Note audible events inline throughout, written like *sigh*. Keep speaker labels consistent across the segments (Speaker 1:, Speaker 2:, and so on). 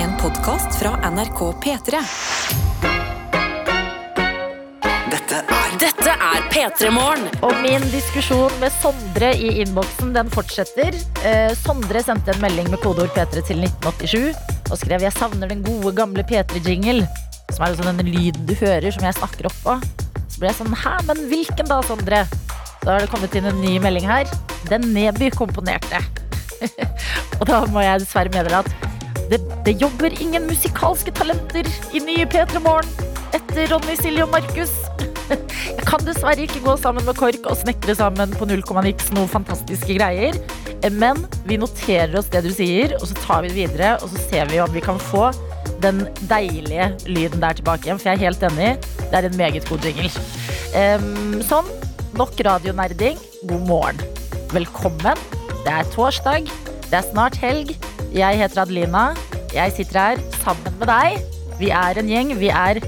Speaker 1: En podkast fra NRK P3.
Speaker 2: Dette er
Speaker 3: Dette er P3 Morgen.
Speaker 4: Og min diskusjon med Sondre i innboksen den fortsetter. Eh, Sondre sendte en melding med kodeord P3 til 1987 og skrev jeg savner den gode gamle P3-jingle. Som er liksom den lyden du hører som jeg snakker opp av. Så ble jeg sånn hæ, men hvilken da, Sondre? Da har det kommet inn en ny melding her. Den Neby komponerte. *laughs* og da må jeg dessverre meddele at det, det jobber ingen musikalske talenter i nye P3 Morgen etter Ronny, Silje og Markus. *laughs* Jeg kan dessverre ikke gå sammen med KORK og snekre sammen på 0,x noen fantastiske greier. Men vi noterer oss det du sier, og så tar vi det videre. Og så ser vi om vi kan få den deilige lyden der tilbake igjen. For jeg er helt enig, det er en meget god jingle. Ehm, sånn. Nok radionerding. God morgen. Velkommen. Det er torsdag. Det er snart helg. Jeg heter Adelina. Jeg sitter her sammen med deg. Vi er en gjeng. Vi er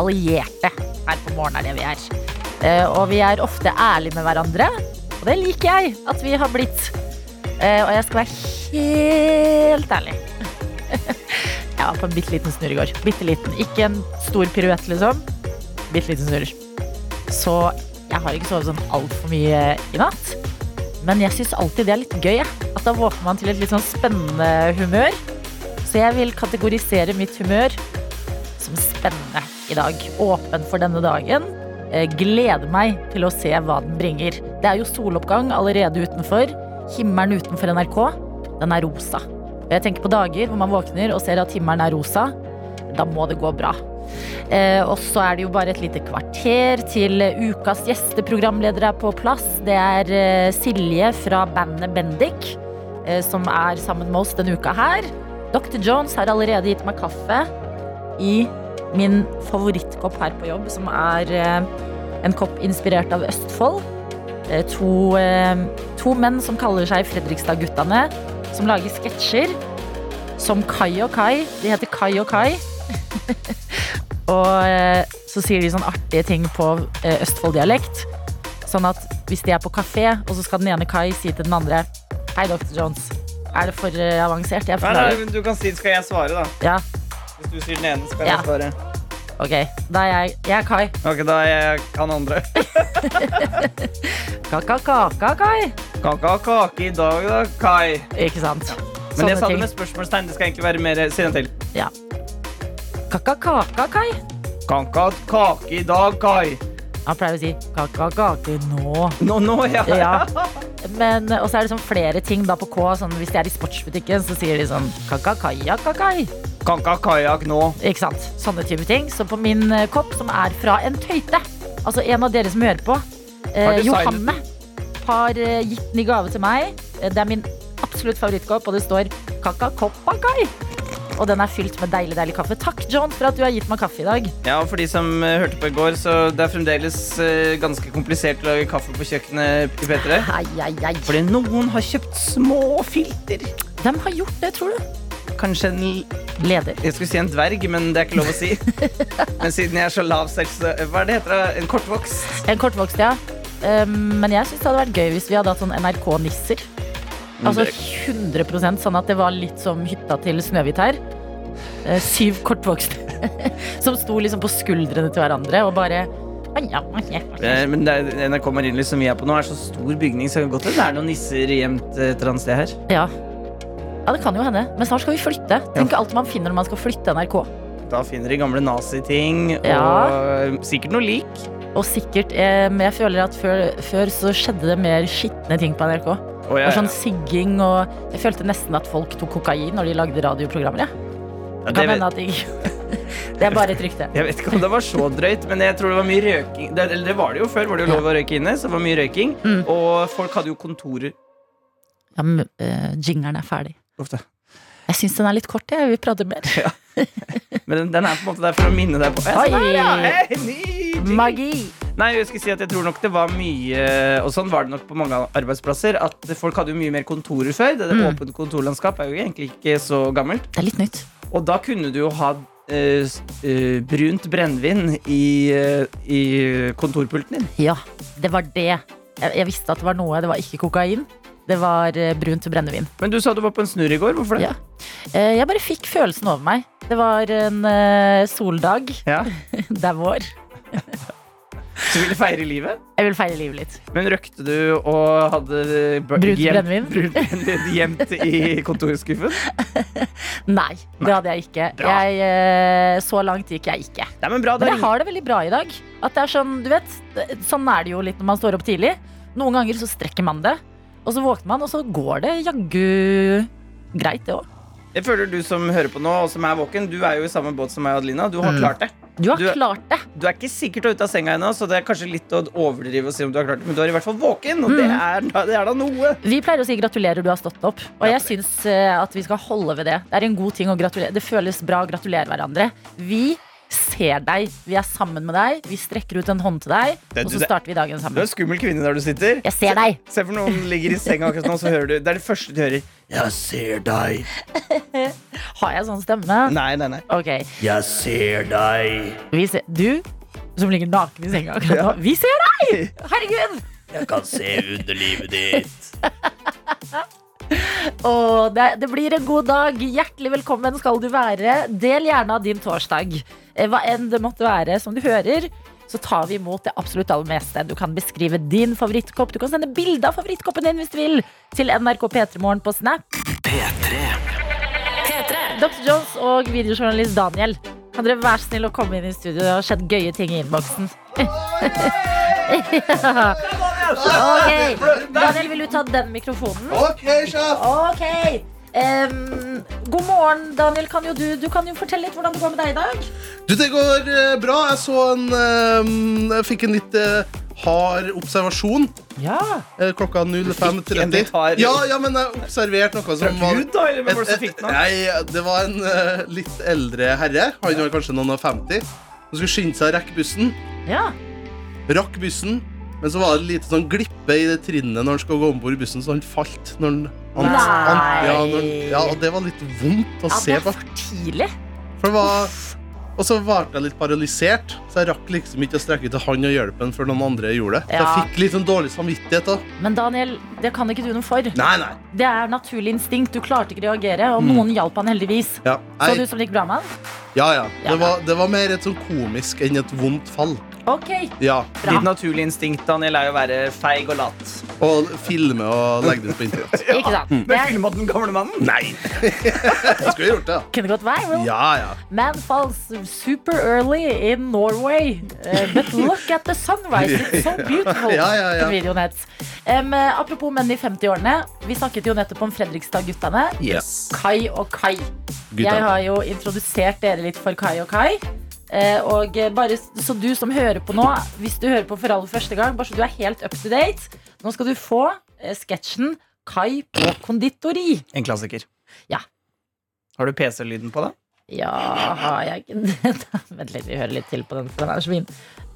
Speaker 4: allierte her på morgenen er det vi er. Eh, og vi er ofte ærlige med hverandre, og det liker jeg at vi har blitt. Eh, og jeg skal være helt ærlig. *laughs* jeg var på en bitte liten snurr i går. Bitte liten. Ikke en stor piruett, liksom. Bitte liten snurr. Så jeg har ikke sovet sånn altfor mye i natt. Men jeg syns alltid det er litt gøy. jeg. At da våkner man til et litt sånn spennende humør. Så jeg vil kategorisere mitt humør som spennende i dag. Åpen for denne dagen. Eh, Gleder meg til å se hva den bringer. Det er jo soloppgang allerede utenfor. Himmelen utenfor NRK, den er rosa. Og jeg tenker på dager hvor man våkner og ser at himmelen er rosa. Da må det gå bra. Eh, og så er det jo bare et lite kvarter til ukas gjesteprogramleder er på plass. Det er eh, Silje fra bandet Bendik, eh, som er sammen med oss denne uka her. Dr. Jones har allerede gitt meg kaffe i min favorittkopp her på jobb, som er eh, en kopp inspirert av Østfold. Eh, To, eh, to menn som kaller seg Fredrikstad-guttene, som lager sketsjer som Kai og Kai. De heter Kai og Kai. *laughs* og eh, så sier de sånn artige ting på eh, Østfold-dialekt. Sånn at hvis de er på kafé, og så skal den ene Kai si til den andre Hei, Dr. Jones. Er det for eh, avansert? Jeg
Speaker 5: Nei, nei,
Speaker 4: forklarer.
Speaker 5: men du kan si skal jeg svare, da.
Speaker 4: Ja,
Speaker 5: Hvis du sier den ene, skal
Speaker 4: Ja.
Speaker 5: jeg svare.
Speaker 4: ok. Da er jeg, jeg er Kai.
Speaker 5: Ok, da er jeg han andre.
Speaker 4: *laughs* Kaka-kaka-kai.
Speaker 5: Kan ikke ha kake i dag, da, Kai.
Speaker 4: Ikke sant?
Speaker 5: Men jeg sa det
Speaker 4: ting.
Speaker 5: med spørsmålstegn. Det skal egentlig være mer Si den til.
Speaker 4: Ja. Kaka-kaka-kai.
Speaker 5: Kan ikke ha kake i dag, Kai.
Speaker 4: Han pleier å si kaka-kake nå.
Speaker 5: Nå, nå, *laughs* ja.
Speaker 4: Ja. Men, og så er det sånn flere ting da på K. Sånn, hvis de er i sportsbutikken, så sier de sånn kaka-kaja-kakai.
Speaker 5: Kan ikke ha kajakk nå.
Speaker 4: Ikke sant? Sånne type ting. Så på min eh, kopp, som er fra en tøyte, altså en av dere som hører på, eh,
Speaker 5: designet
Speaker 4: Johanne, har eh, gitt den i gave til meg. Eh, Det er min absolutt favorittkopp, og det står kaka-koppa-kai. Og den er fylt med deilig, deilig kaffe. Takk, John, for at du har gitt meg kaffe i dag.
Speaker 5: Ja, og for de som eh, hørte på i går, så det er fremdeles eh, ganske komplisert å lage kaffe på kjøkkenet i P3.
Speaker 4: Ai, ai, ai.
Speaker 5: Fordi noen har kjøpt små filter.
Speaker 4: Hvem har gjort det, tror du?
Speaker 5: Kanskje en
Speaker 4: Leder.
Speaker 5: Jeg skulle si en dverg, men det er ikke lov
Speaker 4: *laughs*
Speaker 5: å si. Men siden jeg er så lav selv, så eh, Hva er det heter det? En kortvokst?
Speaker 4: En kortvokst, ja. Um, men jeg syns det hadde vært gøy hvis vi hadde hatt sånn NRK-nisser. Altså 100 sånn at det var litt som hytta til Snøhvit her. Eh, syv kortvokste *laughs* som sto liksom på skuldrene til hverandre og bare
Speaker 5: Eh, Men det er NRK Marienlyst som vi er på nå, er så stor bygning, så det kan godt hende det er noen nisser gjemt eh, et eller annet sted her.
Speaker 4: Ja. Ja, det kan jo hende. Men snart skal vi flytte. Tenk alt man finner når man skal flytte NRK.
Speaker 5: Da finner de gamle naziting og eh,
Speaker 4: Ja.
Speaker 5: sikkert noe lik.
Speaker 4: Og sikkert eh, Men jeg føler at før, før så skjedde det mer skitne ting på NRK.
Speaker 5: Og
Speaker 4: Det
Speaker 5: jeg,
Speaker 4: var sånn sigging og Jeg følte nesten at folk tok kokain når de lagde radioprogrammer. Ja.
Speaker 5: ja,
Speaker 4: Det
Speaker 5: det
Speaker 4: kan
Speaker 5: vet,
Speaker 4: hende at de Det *laughs* er bare et rykte.
Speaker 5: jeg vet ikke om det var så drøyt, men jeg tror det var mye røyking. Det, eller det var det jo før, var det jo lov å røyke inne, så det var mye røyking.
Speaker 4: Mm.
Speaker 5: Og folk hadde jo kontorer
Speaker 4: Ja, men eh, jingeren er ferdig.
Speaker 5: ofte.
Speaker 4: Jeg syns den er litt kort, jeg. Vi prater
Speaker 5: *laughs*
Speaker 4: mer.
Speaker 5: Men den, den er på en måte der for å minne deg på
Speaker 4: Oi.
Speaker 5: Ja, sånn der, ja. Hey, ny jingle.
Speaker 4: Magi!
Speaker 5: Nei, jeg skulle si at jeg tror nok det var mye Og sånn var det nok på mange arbeidsplasser. At folk hadde jo mye mer kontorer før. Det, det
Speaker 4: Mm.
Speaker 5: åpne kontorlandskap er jo egentlig ikke så gammelt.
Speaker 4: Det er litt nytt.
Speaker 5: Og da kunne du jo ha eh, s- eh, brunt brennevin i, eh, i kontorpulten din.
Speaker 4: Ja, det var det. Jeg, jeg visste at det var noe, det var ikke kokain. Det var eh, brunt brennevin.
Speaker 5: Men du sa du var på en snurr i går. Hvorfor det?
Speaker 4: Ja. Eh, Jeg bare fikk følelsen over meg. Det var en eh, soldag.
Speaker 5: Ja.
Speaker 4: *laughs* Det er vår.
Speaker 5: Så ville feire livet?
Speaker 4: Jeg vil feire livet litt.
Speaker 5: Men røkte du og hadde br-
Speaker 4: Brunt
Speaker 5: gjemt-
Speaker 4: brennevin?
Speaker 5: brunt brennevin gjemt i kontorskuffen?
Speaker 4: Nei, det hadde jeg ikke.
Speaker 5: Bra.
Speaker 4: Jeg, eh, så langt gikk jeg ikke.
Speaker 5: Nei, men bra, da
Speaker 4: Men jeg
Speaker 5: ring-
Speaker 4: har det veldig bra i dag. At det er sånn, du vet, det- sånn er det jo litt når man står opp tidlig. Noen ganger så strekker man det, og så våkner man, og så går det jaggu greit, det òg.
Speaker 5: Jeg føler du som hører på nå, og som er våken, du er jo i samme båt som meg og Adelina. Du har
Speaker 4: Mm.
Speaker 5: klart det.
Speaker 4: Du har
Speaker 5: Du-
Speaker 4: klart det.
Speaker 5: Du er ikke sikkert ute av senga ennå, så det er kanskje litt å overdrive og si om du har klart det, men du er i hvert fall våken, og det
Speaker 4: Mm.
Speaker 5: er, da- det er da noe.
Speaker 4: Vi pleier å si 'gratulerer, du har stått opp'. Og jeg syns eh, at vi skal holde ved det. Det er en god ting å gratulere. Det føles bra å gratulere hverandre. Vi ser deg. Vi er sammen med deg. Vi strekker ut en hånd til deg,
Speaker 5: Det-
Speaker 4: og
Speaker 5: du-
Speaker 4: så
Speaker 5: det-
Speaker 4: starter vi dagen
Speaker 5: Du er
Speaker 4: sammen.
Speaker 5: en skummel kvinne der du sitter.
Speaker 4: Jeg ser deg.
Speaker 5: Se for noen ligger i senga akkurat nå, så hører du Det er det første du hører. Jeg ser deg.
Speaker 4: Har jeg sånn stemme?
Speaker 5: Nei, nei, nei.
Speaker 4: Ok.
Speaker 5: Jeg ser deg.
Speaker 4: Vi ser, du som ligger naken i senga akkurat nå, vi ser deg!
Speaker 5: *laughs*
Speaker 4: Herregud!
Speaker 5: Jeg
Speaker 4: *laughs*
Speaker 5: kan se underlivet ditt.
Speaker 4: Og det, det blir en god dag. Hjertelig velkommen skal du være. Del gjerne av din torsdag. Eh, Hva enn det måtte være, som du hører, så tar vi imot det absolutt aller meste. Du kan beskrive din favorittkopp. Du kan sende bilde av favorittkoppen din hvis du vil til NRK P3morgen på Snap.
Speaker 2: P3
Speaker 3: P3.
Speaker 4: Dr. Jones og videojournalist Daniel, kan dere være snill å komme inn i studio? Det har skjedd gøye ting i innboksen. Ok, Daniel, vil du ta den mikrofonen?
Speaker 6: Ok, sjef!
Speaker 4: Ok. Em, god morgen, Daniel. Kan jo du, du kan jo fortelle litt hvordan det går med deg i dag.
Speaker 6: Du, det går eh, bra. Jeg så en eh, Jeg fikk en litt eh, hard observasjon
Speaker 4: Ja.
Speaker 6: eh, klokka
Speaker 5: en litt
Speaker 6: 05.30.
Speaker 5: hard-
Speaker 6: Ja, ja, men jeg observerte noe som var
Speaker 5: Gud, da, eller hvem var det som
Speaker 6: Et-
Speaker 5: fikk
Speaker 6: et-
Speaker 5: den? av?
Speaker 6: Nei, det var en eh, litt eldre herre. Han var kanskje noen og 50. Han skulle skynde seg å rekke bussen.
Speaker 4: ja.
Speaker 6: Rakk bussen, men så var det lite sånn glippe i det trinnet når han skulle gå om bord i bussen, så han falt. Når han, han, han, ja, når, han- ja, og det var litt vondt å
Speaker 4: det
Speaker 6: se
Speaker 4: er
Speaker 6: på.
Speaker 4: for tidlig.
Speaker 6: For det var Og så varte jeg litt paralysert, så jeg rakk liksom ikke å strekke ut til han og hjelpe han før noen andre gjorde det. Så
Speaker 4: Ja.
Speaker 6: jeg fikk litt sånn dårlig samvittighet da.
Speaker 4: Men Daniel, det kan ikke du noe for.
Speaker 6: Nei, nei. Mm.
Speaker 4: Det er naturlig instinkt. Du klarte ikke å reagere, og noen hjalp han heldigvis.
Speaker 6: Ja,
Speaker 4: Så det
Speaker 6: nei.
Speaker 4: ut som det gikk bra med han?
Speaker 6: ja. ja.
Speaker 4: Ja.
Speaker 6: Det, var, det var mer et sånn komisk enn et vondt fall.
Speaker 4: Ok.
Speaker 6: Ja.
Speaker 4: Bra.
Speaker 5: Ditt naturlige instinkt, Daniel, er jo å være feig og lat.
Speaker 6: Og filme og legge det ut på
Speaker 4: *laughs*
Speaker 6: internett.
Speaker 4: Ikke sant.
Speaker 6: Mm.
Speaker 4: Det
Speaker 5: Men filma den gamle mannen?
Speaker 6: Nei! Jeg skulle gjort det. da.
Speaker 4: kunne gått viral.
Speaker 6: Ja, ja.
Speaker 4: Man falls super early in Norway. Eh, but look at the sunrise. It's so beautiful.
Speaker 6: *laughs* Ja, ja, ja.
Speaker 4: Den videoen het. Em, eh, apropos menn i 50-årene. Vi snakket jo nettopp om Fredrikstad-guttene.
Speaker 6: Yes.
Speaker 4: Kai og Kai.
Speaker 6: Gutta.
Speaker 4: Jeg har jo introdusert dere litt for Kai og Kai. Eh, og eh, bare s- Så du som hører på nå, hvis du hører på for aller første gang, bare så du er helt up to date, nå skal du få eh, sketsjen Kai på konditori.
Speaker 5: En klassiker.
Speaker 4: Ja.
Speaker 5: Har du PC-lyden på, da?
Speaker 4: Ja, har jeg *laughs* ikke det? Vent litt, vi hører litt til på den, for den er så fin.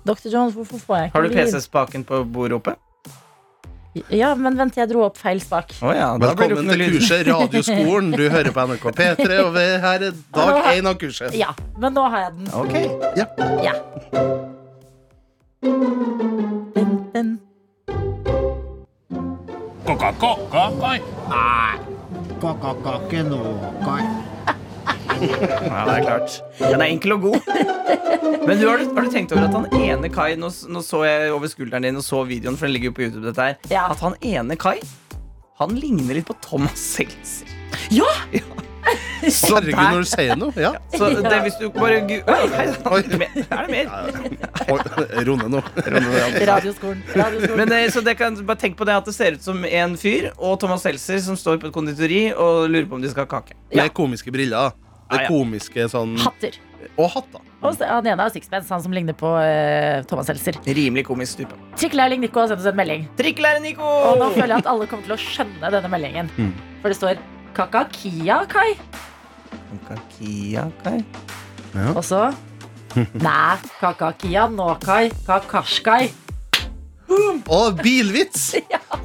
Speaker 4: Dr. Jones, hvorfor får jeg ikke
Speaker 5: Har du
Speaker 4: lyd?
Speaker 5: PC-spaken på bordet oppe?
Speaker 4: Ja, men vent, jeg dro opp feil spak.
Speaker 5: Å ja, da blir det
Speaker 6: Velkommen
Speaker 5: ikke noe
Speaker 6: til
Speaker 5: lyd.
Speaker 6: kurset
Speaker 4: *laughs*
Speaker 6: Radioskolen. Du hører på NRK P3,
Speaker 5: *laughs*
Speaker 6: og vi- her er dag én av kurset.
Speaker 4: Ja, men nå har jeg den.
Speaker 5: Ok.
Speaker 4: Ja. Den, den.
Speaker 7: Kakakake no kai.
Speaker 5: Ja, det er klart. Den er enkel og god. Men du, har, du, har du tenkt over at han ene Kai nå, s- nå så jeg over skulderen din og så videoen, for den ligger jo på YouTube, dette her.
Speaker 4: Ja.
Speaker 5: At han ene Kai, han ligner litt på Thomas Seltzer.
Speaker 4: Ja! *laughs*
Speaker 6: Herregud, når du sier noe. Ja.
Speaker 5: Så det, hvis du bare gu- Oi, hei,
Speaker 6: Oi.
Speaker 5: er det mer? Er det mer?
Speaker 6: Oi, Ro ned nå.
Speaker 4: *laughs* Radioskolen. Radioskolen.
Speaker 5: Men eh, så det kan, bare tenk på det at det ser ut som en fyr og Thomas Seltzer som står på et konditori og lurer på om de skal ha kake.
Speaker 6: Med komiske briller.
Speaker 5: Ah,
Speaker 6: Med
Speaker 5: ja.
Speaker 6: komiske sånn
Speaker 4: Hatter.
Speaker 6: Og hatter.
Speaker 4: Og så- han ene har sixpence, han som ligner på eh, Thomas Seltzer.
Speaker 5: Rimelig komisk type.
Speaker 4: Trikkelærling Nico har sendt oss en melding.
Speaker 5: Trikkelærer Nico!
Speaker 4: Og nå føler jeg at alle kommer til å skjønne denne meldingen. For det står Kakakia, Kai.
Speaker 5: Kakia, Kai.
Speaker 4: Og så Nei, Kakakia nå, Kai. Kakashkai.
Speaker 6: Og bilvits!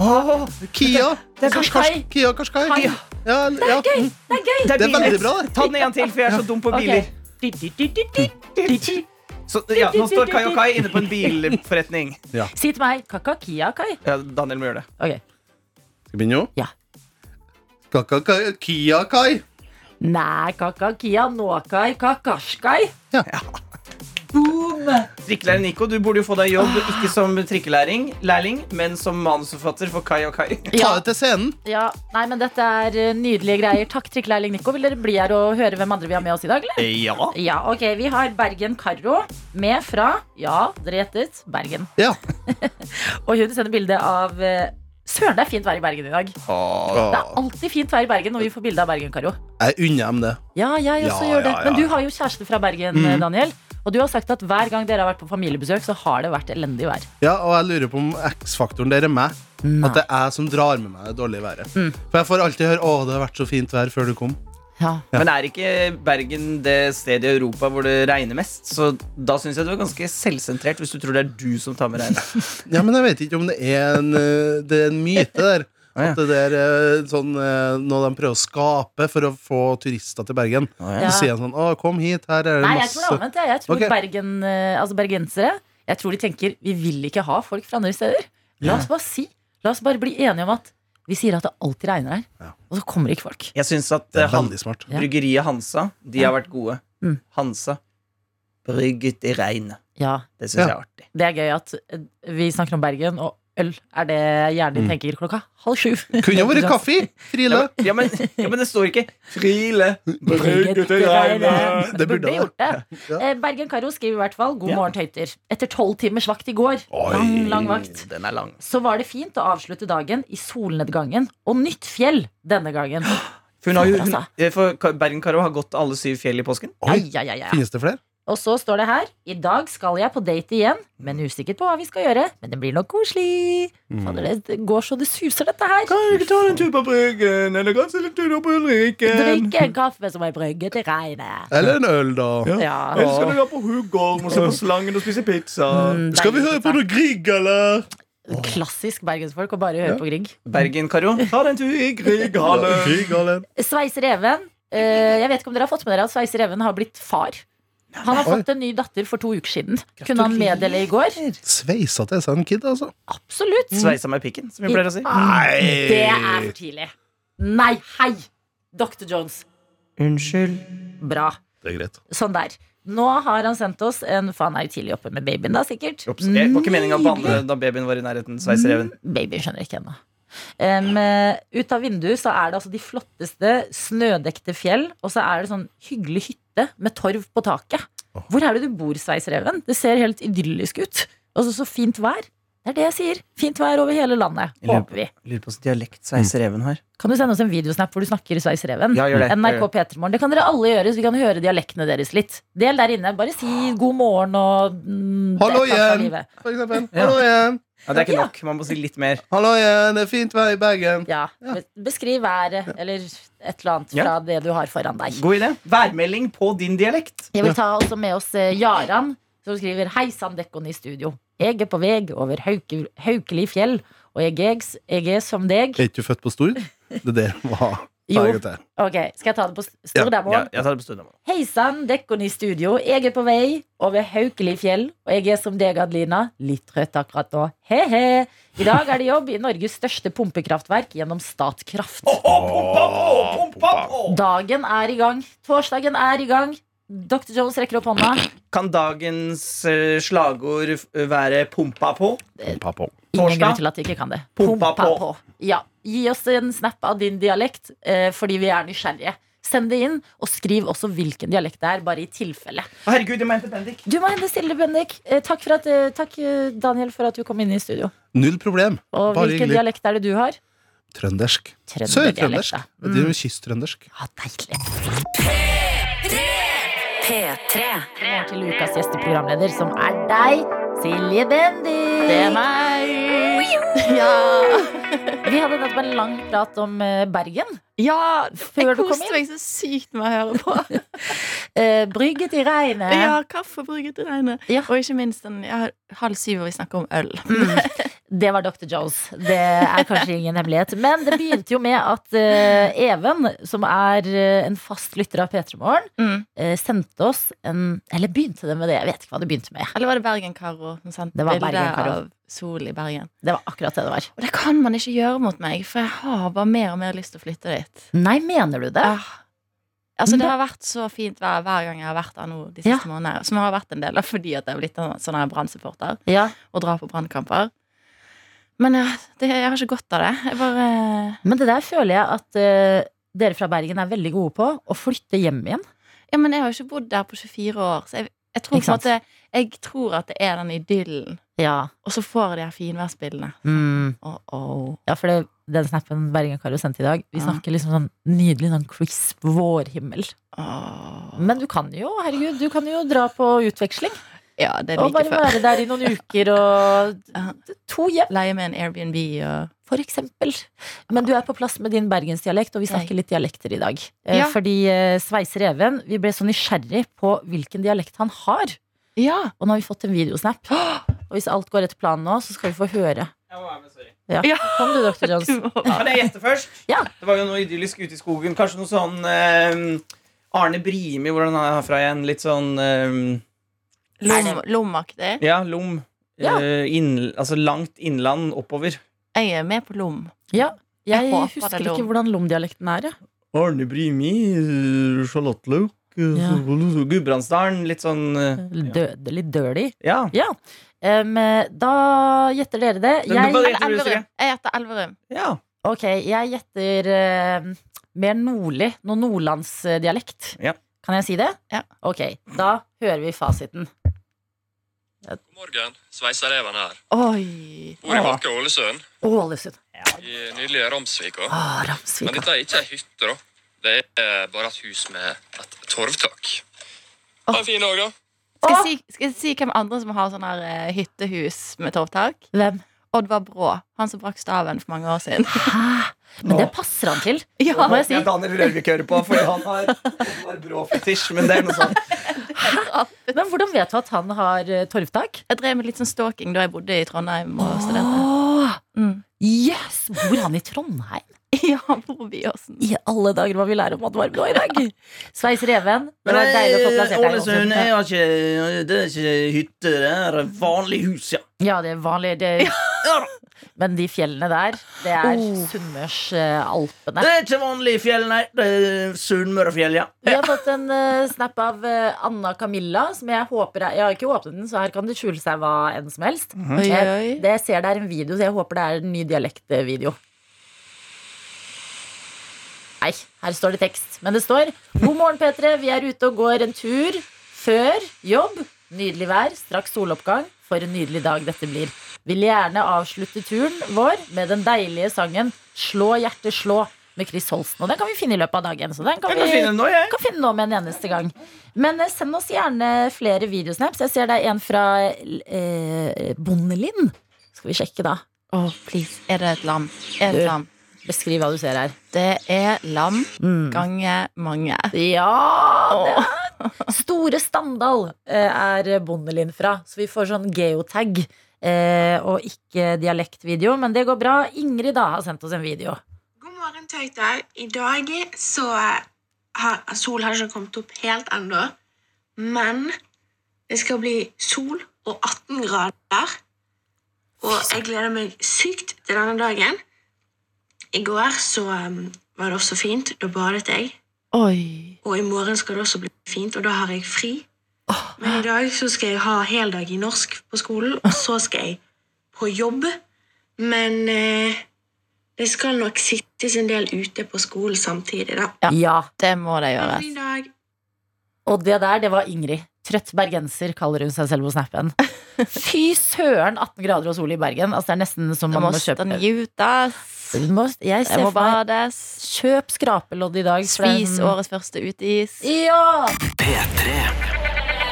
Speaker 5: Åh,
Speaker 6: Kia.
Speaker 4: Det er Qashqai.
Speaker 6: Kia Qashqai.
Speaker 4: Kai.
Speaker 6: Ja, ja.
Speaker 4: Det er gøy!
Speaker 5: det
Speaker 6: Det er
Speaker 5: biler.
Speaker 6: veldig bra, det.
Speaker 5: Ta den en til, for jeg er så dum på
Speaker 4: Ok.
Speaker 5: biler.
Speaker 4: Du, du, du, du, du, du, du.
Speaker 5: Så, ja, nå står Kai og Kai inne på en bilforretning.
Speaker 4: Si til meg Kakakia, Kai.
Speaker 5: Ja, Daniel må gjøre det.
Speaker 4: Ok.
Speaker 6: Skal vi begynne nå?
Speaker 4: Ja.
Speaker 6: Kaka- Kia Kai.
Speaker 4: Nei, kakakia, nåkai, kakasjkai.
Speaker 5: Trikkelærer Nico, du burde jo få deg jobb, ikke som trikkelæring, lærling, men som manusforfatter for Kai og Kai.
Speaker 6: Ta det til scenen.
Speaker 4: Ja, nei, men dette er eh, nydelige greier. Takk, trikkelærling Nico. Vil dere bli her og høre hvem andre vi har med oss i dag, eller?
Speaker 5: Ja.
Speaker 4: Ja, ok, vi har Bergen Karro med fra, ja, dere gjettet, Bergen.
Speaker 6: Ja.
Speaker 4: *laughs* Og hun sender bilde av eh, Søren, det er fint vær i Bergen i dag. Det er
Speaker 6: Åh,
Speaker 4: alltid fint vær i Bergen når vi får bilde av Bergen, Karo.
Speaker 6: Jeg unner dem det.
Speaker 4: Ja, jeg også
Speaker 6: Ja,
Speaker 4: gjør det.
Speaker 6: ja, Mm.
Speaker 4: Men
Speaker 6: ja.
Speaker 4: du har jo kjæreste fra Bergen, eh, Daniel. Og du har sagt at hver gang dere har vært på familiebesøk, så har det vært elendig vær.
Speaker 6: Ja, og jeg lurer på om X-faktoren der er meg. At det er jeg som drar med meg det dårlige været.
Speaker 4: Mm.
Speaker 6: For jeg får alltid høre 'Å, det har vært så fint vær før du kom'.
Speaker 4: Ja.
Speaker 5: Men er ikke Bergen det stedet i Europa hvor det regner mest? Så da syns jeg du er ganske selvsentrert hvis du tror det er du som tar med regnet.
Speaker 6: Ja, men jeg vet ikke om det er en, eh, det er en myte
Speaker 4: *laughs*
Speaker 6: der.
Speaker 5: Ah, ja.
Speaker 6: At det der eh, sånn eh, Noe de prøver å skape for å få turister til Bergen.
Speaker 4: ja.
Speaker 6: Så sier de sånn 'Å, kom hit, her er det
Speaker 4: Nei, jeg tror det er
Speaker 6: masse
Speaker 4: omvendt. jeg. Jeg tror
Speaker 6: Ok.
Speaker 4: Bergen, eh, altså bergensere Jeg tror de tenker vi vil ikke ha folk fra andre steder. La oss bare si La oss bare bli enige om at vi sier at det alltid regner her,
Speaker 6: Ja.
Speaker 4: og så kommer ikke folk.
Speaker 5: Jeg syns at
Speaker 6: Det
Speaker 5: eh,
Speaker 6: er
Speaker 5: han,
Speaker 6: veldig smart.
Speaker 4: Ja.
Speaker 5: bryggeriet Hansa, de har vært gode.
Speaker 4: Mm.
Speaker 5: Hansa. Brygget i regnet.
Speaker 4: Ja,
Speaker 5: Det syns
Speaker 6: Ja.
Speaker 5: jeg er artig.
Speaker 4: Det er gøy at eh, vi snakker om Bergen, og øl er det hjernen din tenker klokka halv sju.
Speaker 6: Mm. *laughs* Kunne vært kaffe! Frile.
Speaker 5: Ja, men, ja, men det står ikke 'Frile brygget i regnet'.
Speaker 4: Men
Speaker 6: Det
Speaker 4: Det
Speaker 6: burde
Speaker 4: burde
Speaker 6: det.
Speaker 4: gjort det.
Speaker 6: Ja.
Speaker 4: *laughs* Eh, Bergen Karo skriver i hvert fall 'God
Speaker 5: Ja.
Speaker 4: morgen, tøyter'. Etter tolv timers vakt i går, lang, lang vakt,
Speaker 5: Mm, Den er lang.
Speaker 4: så var det fint å avslutte dagen i solnedgangen og nytt fjell denne gangen.
Speaker 5: For, hun har jo,
Speaker 4: Fader,
Speaker 5: hun,
Speaker 4: altså.
Speaker 5: eh, for Ka- Bergen-Karo har gått alle syv fjell i påsken.
Speaker 4: Ja,
Speaker 6: Oi,
Speaker 4: ja, ja, ja.
Speaker 6: finnes det flere?
Speaker 4: Og så står det her I dag skal jeg på date igjen, men usikker på hva vi skal gjøre. Men det blir nok koselig. Fader, det- det går så det suser, dette her.
Speaker 5: Kan vi ikke ta en tur på Bryggen, eller kanskje en tur på Ulriken?
Speaker 4: Drikke en kaffe som ei brygge til regnet.
Speaker 6: Eller en øl, da.
Speaker 4: Ja.
Speaker 5: skal du dra på Hugorm og se på Slangen og spise pizza?
Speaker 4: Mm,
Speaker 6: Skal vi
Speaker 4: deilig,
Speaker 6: høre på
Speaker 4: pizza.
Speaker 6: noe Grieg, eller?
Speaker 4: Klassisk bergensfolk å bare høre på Grieg.
Speaker 5: Bergen, Karo. Ta den tur i Grieghallen.
Speaker 6: Grieg, eller?
Speaker 4: Sveis Reven. eh, jeg vet ikke om dere har fått med dere at Sveis Reven har blitt far. Han har
Speaker 6: Oi.
Speaker 4: fått en ny datter for to uker siden. Kunne han meddele i går?
Speaker 6: Sveisa til seg en kid, altså.
Speaker 4: Absolutt.
Speaker 5: Sveisa meg i pikken, som vi pleier å si.
Speaker 6: Nei!
Speaker 4: Det er for tidlig. Nei, hei! Dr. Jones.
Speaker 5: Unnskyld.
Speaker 4: Bra.
Speaker 6: Det er greit.
Speaker 4: Sånn der. Nå har han sendt oss en For han er jo tidlig oppe med babyen, da, sikkert.
Speaker 5: Ops, Det var ikke meningen å banne da babyen var i nærheten. Sveisereven.
Speaker 4: Babyen Mm, skjønner ikke ennå. Um, eh, ut av vinduet så er det altså de flotteste snødekte fjell, og så er det sånn hyggelig hytte med torv på taket. Hvor er det du bor, Sveisreven? Det ser helt idyllisk ut. Og så så fint vær. Det er det jeg sier. Fint vær over hele landet,
Speaker 5: Jeg lurer på-
Speaker 4: håper vi.
Speaker 5: Lurer på hvilken dialekt
Speaker 6: Mm.
Speaker 5: Sveisereven har.
Speaker 4: Kan du sende oss en videosnap hvor du snakker Sveisreven?
Speaker 5: Ja, gjør det.
Speaker 4: NRK
Speaker 5: Gjør det.
Speaker 4: Petermorgen. Det kan dere alle gjøre, så vi kan høre dialektene deres litt. Del der inne. Bare si god morgen og mm,
Speaker 6: Hallo
Speaker 4: det er takk for
Speaker 6: igjen.
Speaker 4: livet.
Speaker 6: For eksempel.
Speaker 5: Ja.
Speaker 6: Hallo igjen.
Speaker 5: Ja, det er ikke nok. Man må si litt mer.
Speaker 6: Hallo igjen, det er fint vær i Bergen.
Speaker 4: Ja. be- Beskriv været eller et eller annet
Speaker 5: Ja.
Speaker 4: fra det du har foran deg.
Speaker 5: God idé. Værmelding på din dialekt.
Speaker 4: Jeg vil ta også med oss eh, Jaran, som skriver Hei sann, dekkon i studio. Jeg er på vei over Hauke, Haukeli fjell, og jeg er, jeg er som deg.
Speaker 6: Er ikke du født på Stord? Det der var
Speaker 4: Jo.
Speaker 6: Bergen til.
Speaker 4: Ok, Skal jeg ta det på
Speaker 6: Ja,
Speaker 4: stor demo?
Speaker 5: Ja, jeg tar det på stund.
Speaker 4: Hei sann, dekkon i studio. Jeg er på vei over Haukeli fjell, og jeg er som deg, Adelina. Litt trøtt akkurat nå. He-he. I dag er det jobb i Norges største pumpekraftverk gjennom Statkraft. Dagen er i gang. Torsdagen er i gang. Dr. Jones rekker opp hånda.
Speaker 5: Kan dagens eh, slagord eh, være 'pumpa på'?
Speaker 6: Pumpa på.
Speaker 4: Ingen
Speaker 5: Torsdag?
Speaker 4: grunn til at vi ikke kan det.
Speaker 5: Pumpa på.
Speaker 4: Ja. Gi oss en snap av din dialekt, eh, fordi vi er nysgjerrige. Send det inn, og skriv også hvilken dialekt det er, bare i tilfelle.
Speaker 5: Å, Herregud, jeg mente Bendik.
Speaker 4: Du må hende stille, Bendik. Eh, Takk, for at, eh, takk, eh, Daniel, for at du kom inn i studio.
Speaker 6: Null problem.
Speaker 4: Og
Speaker 6: Bare
Speaker 4: hvilken
Speaker 6: hyggelig.
Speaker 4: dialekt er det du har?
Speaker 6: Trøndersk.
Speaker 4: Trønderdialekt,
Speaker 6: Sør-trøndersk.
Speaker 4: da. Mm.
Speaker 6: Det er jo Kyst-trøndersk.
Speaker 4: Ja, deilig.
Speaker 3: P3
Speaker 4: Over til ukas gjesteprogramleder, som er deg, Silje Bendik. Det er meg. *laughs* Vi hadde nettopp en lang prat om eh, Bergen.
Speaker 8: Ja,
Speaker 4: Før
Speaker 8: jeg
Speaker 4: du kom
Speaker 8: koste meg så sykt med å høre på.
Speaker 4: Eh, Brygget i
Speaker 9: *laughs*
Speaker 4: regnet.
Speaker 8: Ja, kaffe bruker til regnet.
Speaker 4: Ja.
Speaker 8: Og ikke minst den ja, halv syv hvor vi snakker om øl.
Speaker 4: Det var Dr. Jones. Mm. Det er kanskje ingen hemmelighet. Men det begynte jo med at eh, Even, som er eh, en fast lytter av P3 Morgen,
Speaker 9: *laughs* Mm.
Speaker 4: eh, sendte oss en Eller begynte det med det? Jeg vet ikke hva det begynte med.
Speaker 9: Eller var det Bergen-Karo som sendte
Speaker 4: Det var
Speaker 9: bilde
Speaker 4: Bergen-Karo.
Speaker 9: av sol i Bergen?
Speaker 4: Det var akkurat det det var.
Speaker 9: Og det kan man ikke gjøre mot meg, for jeg har bare mer og mer lyst til å flytte dit.
Speaker 4: Nei, mener du det?
Speaker 9: Ah. Altså,
Speaker 4: Men
Speaker 9: det har vært så fint vær hver gang jeg har vært der nå de
Speaker 4: Ja.
Speaker 9: siste månedene. Som har vært en del av fordi at jeg har blitt en sånn her Brann-supporter
Speaker 4: Ja.
Speaker 9: og drar på Brannkamper. Men ja, det, jeg har ikke godt av det. Jeg bare
Speaker 4: Men det der føler jeg at eh, dere fra Bergen er veldig gode på. Å flytte hjem igjen.
Speaker 9: Ja, men jeg har jo ikke bodd der på 24 år, så jeg, jeg,
Speaker 4: Ikke
Speaker 9: tror, på en
Speaker 4: sant?
Speaker 9: måte, jeg tror at det er den idyllen.
Speaker 4: Ja.
Speaker 9: Og så får jeg de her finværsbildene.
Speaker 4: Mm.
Speaker 9: Oh, oh.
Speaker 4: Ja, for det, den snappen Bergen Karo sendte i dag, vi
Speaker 9: Ja.
Speaker 4: snakker liksom sånn nydelig sånn crisp vårhimmel.
Speaker 9: Åh.
Speaker 4: Men du kan jo, herregud, du kan jo dra på utveksling.
Speaker 9: Ja, det er
Speaker 4: Og
Speaker 9: like
Speaker 4: bare
Speaker 9: før.
Speaker 4: være der i noen uker og
Speaker 9: *laughs* Ja.
Speaker 4: to hjem,
Speaker 9: Leie med en Airbnb og
Speaker 4: for eksempel. Men du er på plass med din bergensdialekt, og vi snakker litt dialekter i dag. Eh,
Speaker 9: Ja.
Speaker 4: Fordi eh, Sveiser Even, vi ble så nysgjerrig på hvilken dialekt han har.
Speaker 9: Ja!
Speaker 4: Og nå har vi fått en
Speaker 9: *gasps*
Speaker 4: videosnap. Og hvis alt går etter planen nå, så skal vi få høre.
Speaker 5: Jeg må være med, sorry.
Speaker 4: Ja.
Speaker 9: Ja.
Speaker 4: Kom du,
Speaker 5: *laughs*
Speaker 4: Dr. Jones.
Speaker 5: Kan jeg gjette først?
Speaker 4: Ja.
Speaker 5: Det var jo noe idyllisk ute i skogen. Kanskje noe sånn eh, Arne Brimi, hvordan er han herfra igjen? Litt sånn eh,
Speaker 9: Lom, lomaktig.
Speaker 5: Ja, lom.
Speaker 4: Ja.
Speaker 5: Eh, inn, altså langt innland oppover.
Speaker 9: Jeg er med på lom.
Speaker 4: Jeg
Speaker 9: Jeg håper det er
Speaker 4: husker
Speaker 9: lov.
Speaker 4: ikke hvordan lomdialekten er, jeg.
Speaker 5: Arne Brimi, eh, sjalottløk
Speaker 4: Ja.
Speaker 5: Gudbrandsdalen, litt sånn eh,
Speaker 4: Dø- Litt dirty.
Speaker 5: Ja.
Speaker 4: Em, eh, da gjetter dere det.
Speaker 5: Men hva gjetter
Speaker 4: Jeg,
Speaker 5: du, Sigrid?
Speaker 9: Elverum. Jeg heter Elverum.
Speaker 5: ja.
Speaker 4: ok, jeg gjetter eh, mer nordlig, noe nordlandsdialekt.
Speaker 5: Ja.
Speaker 4: Kan jeg si det?
Speaker 9: Ja.
Speaker 4: Ok, da hører vi fasiten.
Speaker 10: God morgen, sveisereven her.
Speaker 9: Oi.
Speaker 10: Bor i Håke Ålesund,
Speaker 4: Ålesund.
Speaker 10: i nydelige Ramsvika.
Speaker 4: Ah,
Speaker 10: Men
Speaker 4: Ramsvika.
Speaker 10: dette er ikke ei hytte, da. Det er bare et hus med et torvtak. Ha en fin dag, da.
Speaker 9: Skal jeg, si, skal jeg si hvem andre som har sånn her eh, hyttehus med torvtak?
Speaker 4: Hvem?
Speaker 9: Oddvar Brå. Han som brakk staven for mange år siden.
Speaker 4: Hæ? Men det passer han til.
Speaker 9: Ja,
Speaker 4: Må jeg si?
Speaker 5: Jeg danner
Speaker 9: *laughs*
Speaker 5: Rørvik hører på, for han har, han har brå fetisj, men det er noe sånn.
Speaker 4: Men hvordan vet du at han har eh, torvtak?
Speaker 9: Jeg drev med litt sånn stalking da jeg bodde i Trondheim og studerte.
Speaker 4: Åh,
Speaker 9: Mm.
Speaker 4: Yes! Bor han i Trondheim?
Speaker 9: *laughs* Ja, Bror Byåsen.
Speaker 4: I alle dager hva vi lærer om Oddvar Blå i dag! Sveis Reven. Det var deilig å få plassert deg i
Speaker 5: Eh, Ålesund
Speaker 4: Ålesund.
Speaker 5: er ikke, det er ikke hytte, det er vanlig hus, ja.
Speaker 4: Ja, det er vanlig. Det... *laughs* Men de fjellene der, det er
Speaker 9: Oh.
Speaker 4: Sunnmørsalpene.
Speaker 5: Det
Speaker 9: Eh,
Speaker 5: er ikke vanlig fjell, nei. Det er Sunnmørefjell, ja.
Speaker 4: Vi har fått en eh, snap av eh, Anna Camilla, som jeg håper er Jeg har ikke åpnet den, så her kan det skjule seg hva enn som helst.
Speaker 9: Mhm. Oi, oi.
Speaker 4: Jeg, det jeg ser det er en video, så jeg håper det er en ny dialektvideo. Nei, her står det tekst. Men det står God morgen, P3. Vi er ute og går en tur før jobb. Nydelig vær, straks soloppgang. For en nydelig dag dette blir. Vil gjerne avslutte turen vår med den deilige sangen 'Slå hjerte, slå' med Chris Holsten. Og den kan vi finne i løpet av dagen. Så den kan
Speaker 5: Jeg kan finne
Speaker 4: vi
Speaker 5: noe, jeg.
Speaker 4: kan finne noe med en eneste gang. Men eh, send oss gjerne flere videosnaps. Jeg ser det er en fra eh, Bondelin. Skal vi sjekke, da.
Speaker 9: Åh, please. Er det et lam? Er det et lam?
Speaker 4: Beskriv hva du ser her.
Speaker 9: Det er lam
Speaker 4: Mm.
Speaker 9: gange mange.
Speaker 4: Ja! det
Speaker 9: Åh.
Speaker 4: er- Store Standal eh, er Bondelin fra, så vi får sånn geotag. Eh, og ikke dialektvideo, men det går bra. Ingrid da har sendt oss en video.
Speaker 11: God morgen, tøyter. I dag så har sol har ikke kommet opp helt ennå. Men det skal bli sol og 18 grader. Og jeg gleder meg sykt til denne dagen. I går så um, var det også fint. Da badet jeg.
Speaker 9: Oi.
Speaker 11: Og i morgen skal det også bli fint, og da har jeg fri. Men i dag så skal jeg ha heldag i norsk på skolen, og så skal jeg på jobb. Men eh, det skal nok sittes en del ute på skolen samtidig, da.
Speaker 9: Ja.
Speaker 4: Ja,
Speaker 9: Det må det
Speaker 11: Ha en
Speaker 9: gjøres.
Speaker 11: fin dag.
Speaker 4: Og det der, det var Ingrid. Trøtt bergenser kaller hun seg selv på
Speaker 9: *laughs*
Speaker 4: snappen. Fy søren, 18 grader og sol i Bergen. Altså, det er nesten som
Speaker 9: Det
Speaker 4: man
Speaker 9: må
Speaker 4: må kjøpe
Speaker 9: nytes.
Speaker 4: Du må, jeg
Speaker 9: Det
Speaker 4: ser
Speaker 9: må
Speaker 4: for meg
Speaker 9: bades.
Speaker 4: Kjøp skrapelodd i dag. for det er
Speaker 9: Spis
Speaker 4: sånn-
Speaker 9: årets første utis.
Speaker 4: Ja!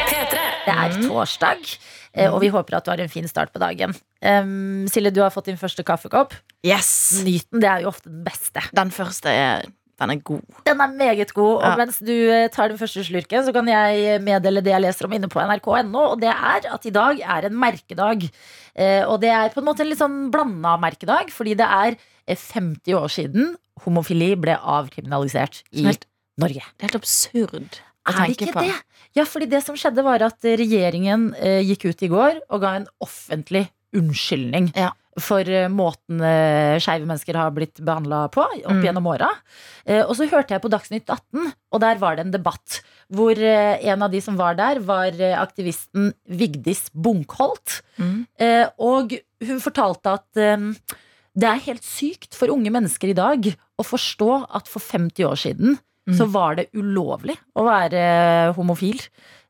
Speaker 12: P3.
Speaker 4: Det er
Speaker 9: Mhm.
Speaker 4: torsdag, eh, og vi håper at du har en fin start på dagen. Em, Silje, du har fått din første kaffekopp.
Speaker 9: Yes!
Speaker 4: Nyt den, det er jo ofte den beste.
Speaker 9: Den første er
Speaker 8: Den er god.
Speaker 4: Den er meget god. Og
Speaker 8: Ja.
Speaker 4: mens du eh, tar den første slurken, så kan jeg meddele det jeg leser om inne på nrk.no. Og det er at i dag er en merkedag. Eh, Og det er på en måte en litt sånn blanda merkedag, fordi det er eh, 50 år siden homofili ble avkriminalisert i
Speaker 8: Som helt-
Speaker 4: Norge.
Speaker 8: Det er helt absurd å
Speaker 4: Er det
Speaker 8: tenke
Speaker 4: ikke
Speaker 8: på.
Speaker 4: det? Ja, fordi det som skjedde var at eh, regjeringen eh, gikk ut i går og ga en offentlig unnskyldning
Speaker 8: Ja.
Speaker 4: for eh, måten eh, skeive mennesker har blitt behandla på opp
Speaker 8: Mm.
Speaker 4: gjennom åra. Eh, og så hørte jeg på Dagsnytt 18, og der var det en debatt hvor eh, en av de som var der, var eh, aktivisten Vigdis Bunkholt.
Speaker 8: Mm.
Speaker 4: Eh, og hun fortalte at eh, det er helt sykt for unge mennesker i dag å forstå at for 50 år siden
Speaker 8: Mm.
Speaker 4: så var det ulovlig å være homofil.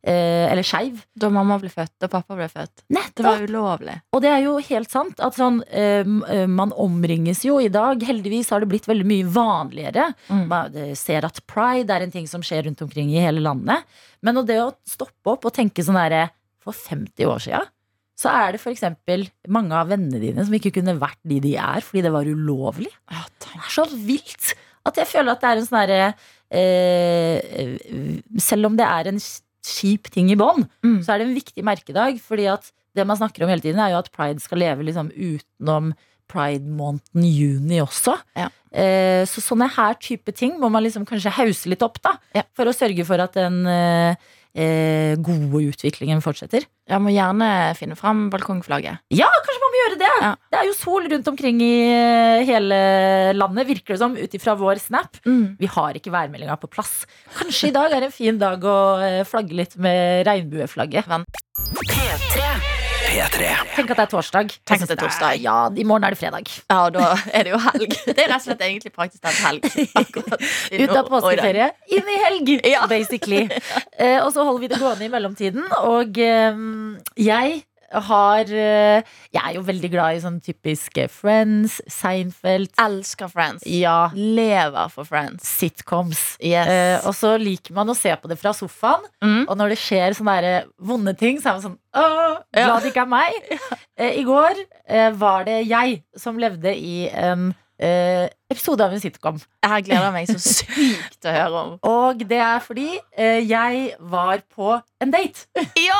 Speaker 4: Eh, eller skeiv.
Speaker 8: Da mamma ble født, da pappa ble født. Det var ulovlig.
Speaker 4: Og det er jo helt sant at sånn, eh, m- eh, man omringes jo i dag. Heldigvis har det blitt veldig mye vanligere.
Speaker 8: Mm.
Speaker 4: Man eh, ser at pride er en ting som skjer rundt omkring i hele landet. Men og det å stoppe opp og tenke sånn herre For 50 år sia så er det f.eks. mange av vennene dine som ikke kunne vært de de er fordi det var ulovlig.
Speaker 8: Ja,
Speaker 4: Det er så vilt at jeg føler at det er en sånn herre eh, Selv om det er en kjip ting i bånn,
Speaker 8: Mm.
Speaker 4: så er det en viktig merkedag. Fordi at det man snakker om hele tiden, er jo at pride skal leve liksom utenom pride-måneden juni også.
Speaker 8: Ja.
Speaker 4: Eh, så sånne her type ting må man liksom kanskje hause litt opp, da.
Speaker 8: Ja.
Speaker 4: For å sørge for at den eh, eh, gode utviklingen fortsetter.
Speaker 8: Jeg må gjerne finne fram balkongflagget.
Speaker 4: Ja, kanskje man må gjøre det!
Speaker 8: Ja.
Speaker 4: Det er jo sol rundt omkring i eh, hele landet, virker det som, ut ifra vår snap. Vi har ikke værmeldinga på plass. Kanskje i dag er en fin dag å eh, flagge litt med regnbueflagget.
Speaker 2: P3.
Speaker 4: Tenk at det er torsdag.
Speaker 8: Tenk at det er torsdag.
Speaker 4: Ja, I morgen er det fredag.
Speaker 8: Ja, og da er det jo
Speaker 4: *laughs*
Speaker 8: helg. Det er rett og slett egentlig praktisk talt helg. *laughs* Akkurat.
Speaker 4: Ut av påskeferie, inn i helg,
Speaker 8: *laughs* Ja.
Speaker 4: basically. Eh, og så holder vi det gående i mellomtiden. Og eh, jeg har eh, Jeg er jo veldig glad i sånn typiske Friends, Seinfeld,
Speaker 8: Elsker Friends.
Speaker 4: ja,
Speaker 8: Lever for Friends.
Speaker 4: sitcoms.
Speaker 8: Yes.
Speaker 4: Eh, og så liker man å se på det fra sofaen.
Speaker 8: Mm.
Speaker 4: Og når det skjer sånne der eh, vonde ting, så er man sånn Åh,
Speaker 8: Ja.
Speaker 4: glad det ikke er meg.
Speaker 8: *laughs*
Speaker 4: Eh, I går eh, var det jeg som levde i en eh, episode av en sitcom.
Speaker 8: Jeg gleder
Speaker 4: *laughs*
Speaker 8: meg så sykt til å høre om.
Speaker 4: Og det er fordi eh, jeg var på en date.
Speaker 8: Ja!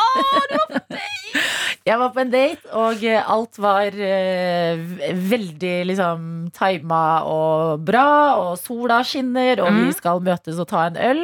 Speaker 4: Jeg var på en date, og eh, alt var eh, v- veldig liksom tima og bra, og sola skinner, og vi
Speaker 8: Mhm.
Speaker 4: skal møtes og ta en øl.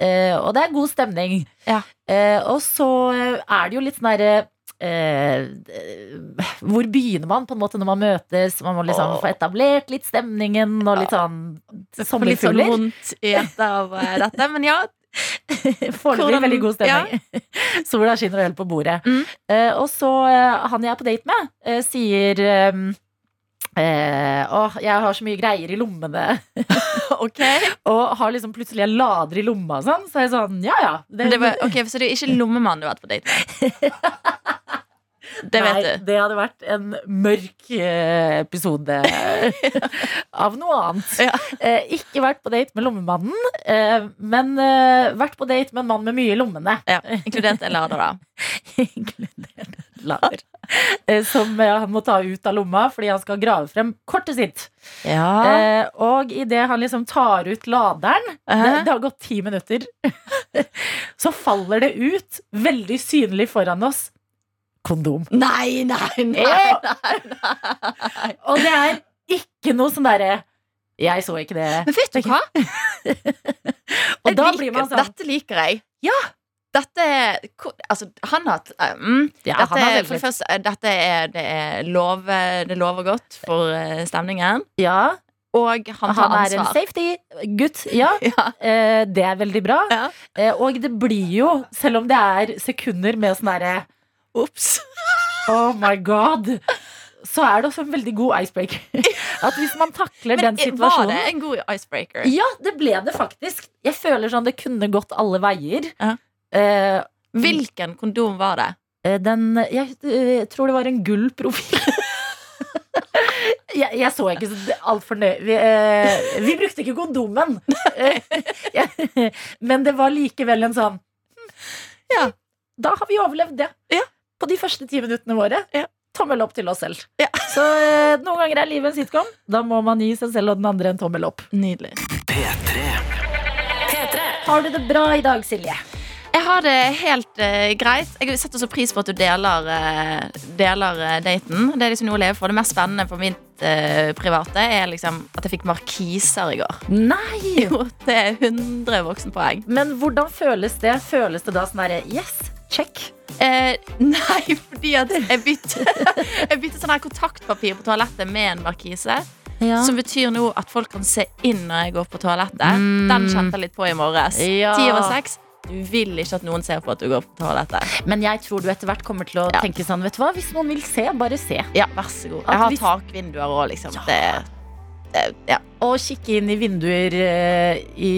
Speaker 4: Eh, og det er god stemning.
Speaker 8: Ja.
Speaker 4: Eh, og så eh, er det jo litt sånn derre eh, eh, hvor begynner man på en måte når man møtes? Man må liksom
Speaker 8: Åh.
Speaker 4: få etablert litt stemningen og litt sånn
Speaker 8: Får litt sånn
Speaker 4: sommerfugler.
Speaker 8: vondt i hjertet av eh, dette, men ja.
Speaker 4: *laughs* Foreløpig
Speaker 8: Hvordan-
Speaker 4: veldig god stemning. *laughs* Sola skinner og øl på bordet.
Speaker 8: Mm.
Speaker 4: Eh, og så eh, han jeg er på date med, eh, sier ehm, eh, Åh, jeg har så mye greier i lommene.
Speaker 8: *laughs* Ok.
Speaker 4: *laughs* Og har liksom plutselig en lader i lomma og sånn. Så er jeg sånn, ja ja.
Speaker 8: Men Det var, ok, Så det er
Speaker 4: *laughs*
Speaker 8: ikke lommemann du har vært på date med? Det
Speaker 4: Nei,
Speaker 8: vet du.
Speaker 4: det hadde vært en mørk eh, episode
Speaker 8: *laughs*
Speaker 4: av noe annet.
Speaker 8: Ja.
Speaker 4: Eh, ikke vært på date med lommemannen, eh, men eh, vært på date med en mann med mye i lommene.
Speaker 8: Ja, Inkludert en lader, da.
Speaker 4: *laughs* Inkludert lader. Eh, Som eh, han må ta ut av lomma fordi han skal grave frem kortet sitt.
Speaker 8: Ja.
Speaker 4: Eh, og idet han liksom tar ut laderen det,
Speaker 8: Eh,
Speaker 4: det har gått ti minutter. *laughs* Så faller det ut, veldig synlig foran oss, kondom.
Speaker 8: Nei, nei,
Speaker 4: Ja.
Speaker 8: nei!
Speaker 4: Og det er ikke noe sånn derre Jeg så ikke det.
Speaker 8: Men vet du hva?
Speaker 4: Og
Speaker 8: Jeg
Speaker 4: da
Speaker 8: liker-
Speaker 4: blir man sånn
Speaker 8: Dette liker jeg. Ja! Dette er ko- Altså, han har eh, mm,
Speaker 4: ja,
Speaker 8: dette,
Speaker 4: han har
Speaker 8: er-
Speaker 4: veldig-
Speaker 8: For det første, eh, dette er Det, er lov, eh, det lover godt for eh, stemningen.
Speaker 4: ja,
Speaker 8: Og han tar
Speaker 4: han er en
Speaker 8: ansvar.
Speaker 4: safety-gutt. Ja,
Speaker 8: *laughs* Ja.
Speaker 4: eh, det er veldig bra.
Speaker 8: Ja.
Speaker 4: Eh, og det blir jo, selv om det er sekunder med sånn derre
Speaker 8: Ops.
Speaker 4: *laughs* Oh my god! Så er det også en veldig god
Speaker 8: *laughs*
Speaker 4: icebreaker. At hvis man takler
Speaker 8: Men
Speaker 4: den
Speaker 8: eh, var
Speaker 4: situasjonen
Speaker 8: det en god icebreaker?
Speaker 4: Ja, det ble det faktisk. Jeg føler sånn det kunne gått alle veier.
Speaker 8: Ja.
Speaker 4: Eh,
Speaker 8: Hvilken kondom var det?
Speaker 4: eh, den jeg, eh, tror det var en gull profil. *laughs* jeg, jeg så ikke så altfor nøye. Vi, eh, vi brukte ikke kondomen. Eh, jeg- men det var likevel en sånn hm,
Speaker 8: Ja.
Speaker 4: Da har vi overlevd det.
Speaker 8: Ja.
Speaker 4: På de første ti minuttene våre.
Speaker 8: Ja.
Speaker 4: tommel opp til oss selv.
Speaker 9: Ja.
Speaker 4: Så eh, noen ganger er livet en sitcom. Da må man gi seg selv og den andre en tommel opp.
Speaker 9: Nydelig.
Speaker 4: Har du det bra i dag, Silje?
Speaker 9: Jeg har det helt eh, greit. Jeg setter så pris på at du deler, eh, deler eh, daten. Det er liksom noe å leve for. Det mest spennende for mitt eh, private er liksom at jeg fikk markiser i går.
Speaker 4: Nei!
Speaker 9: *laughs* Jo, det er 100 voksenpoeng.
Speaker 4: Men hvordan føles det? Føles det da sånn derre yes, check?
Speaker 9: Eh, nei, *laughs* fordi at jeg byttet *laughs* Jeg byttet sånn her kontaktpapir på toalettet med en markise. Som betyr nå at folk kan se inn når jeg går på toalettet.
Speaker 4: Mm.
Speaker 9: Den kjente jeg litt på i morges.
Speaker 4: Ja.
Speaker 9: Ti over seks. Du vil ikke at noen ser på at du går på toalettet.
Speaker 4: Men jeg tror du etter hvert kommer til å
Speaker 9: Ja.
Speaker 4: tenke sånn, vet du hva, hvis noen vil se, bare se.
Speaker 9: Ja, vær så god.
Speaker 4: At
Speaker 9: Jeg har
Speaker 4: hvis-
Speaker 9: takvinduer òg, liksom. Det, det, ja.
Speaker 4: Å kikke inn i vinduer eh, i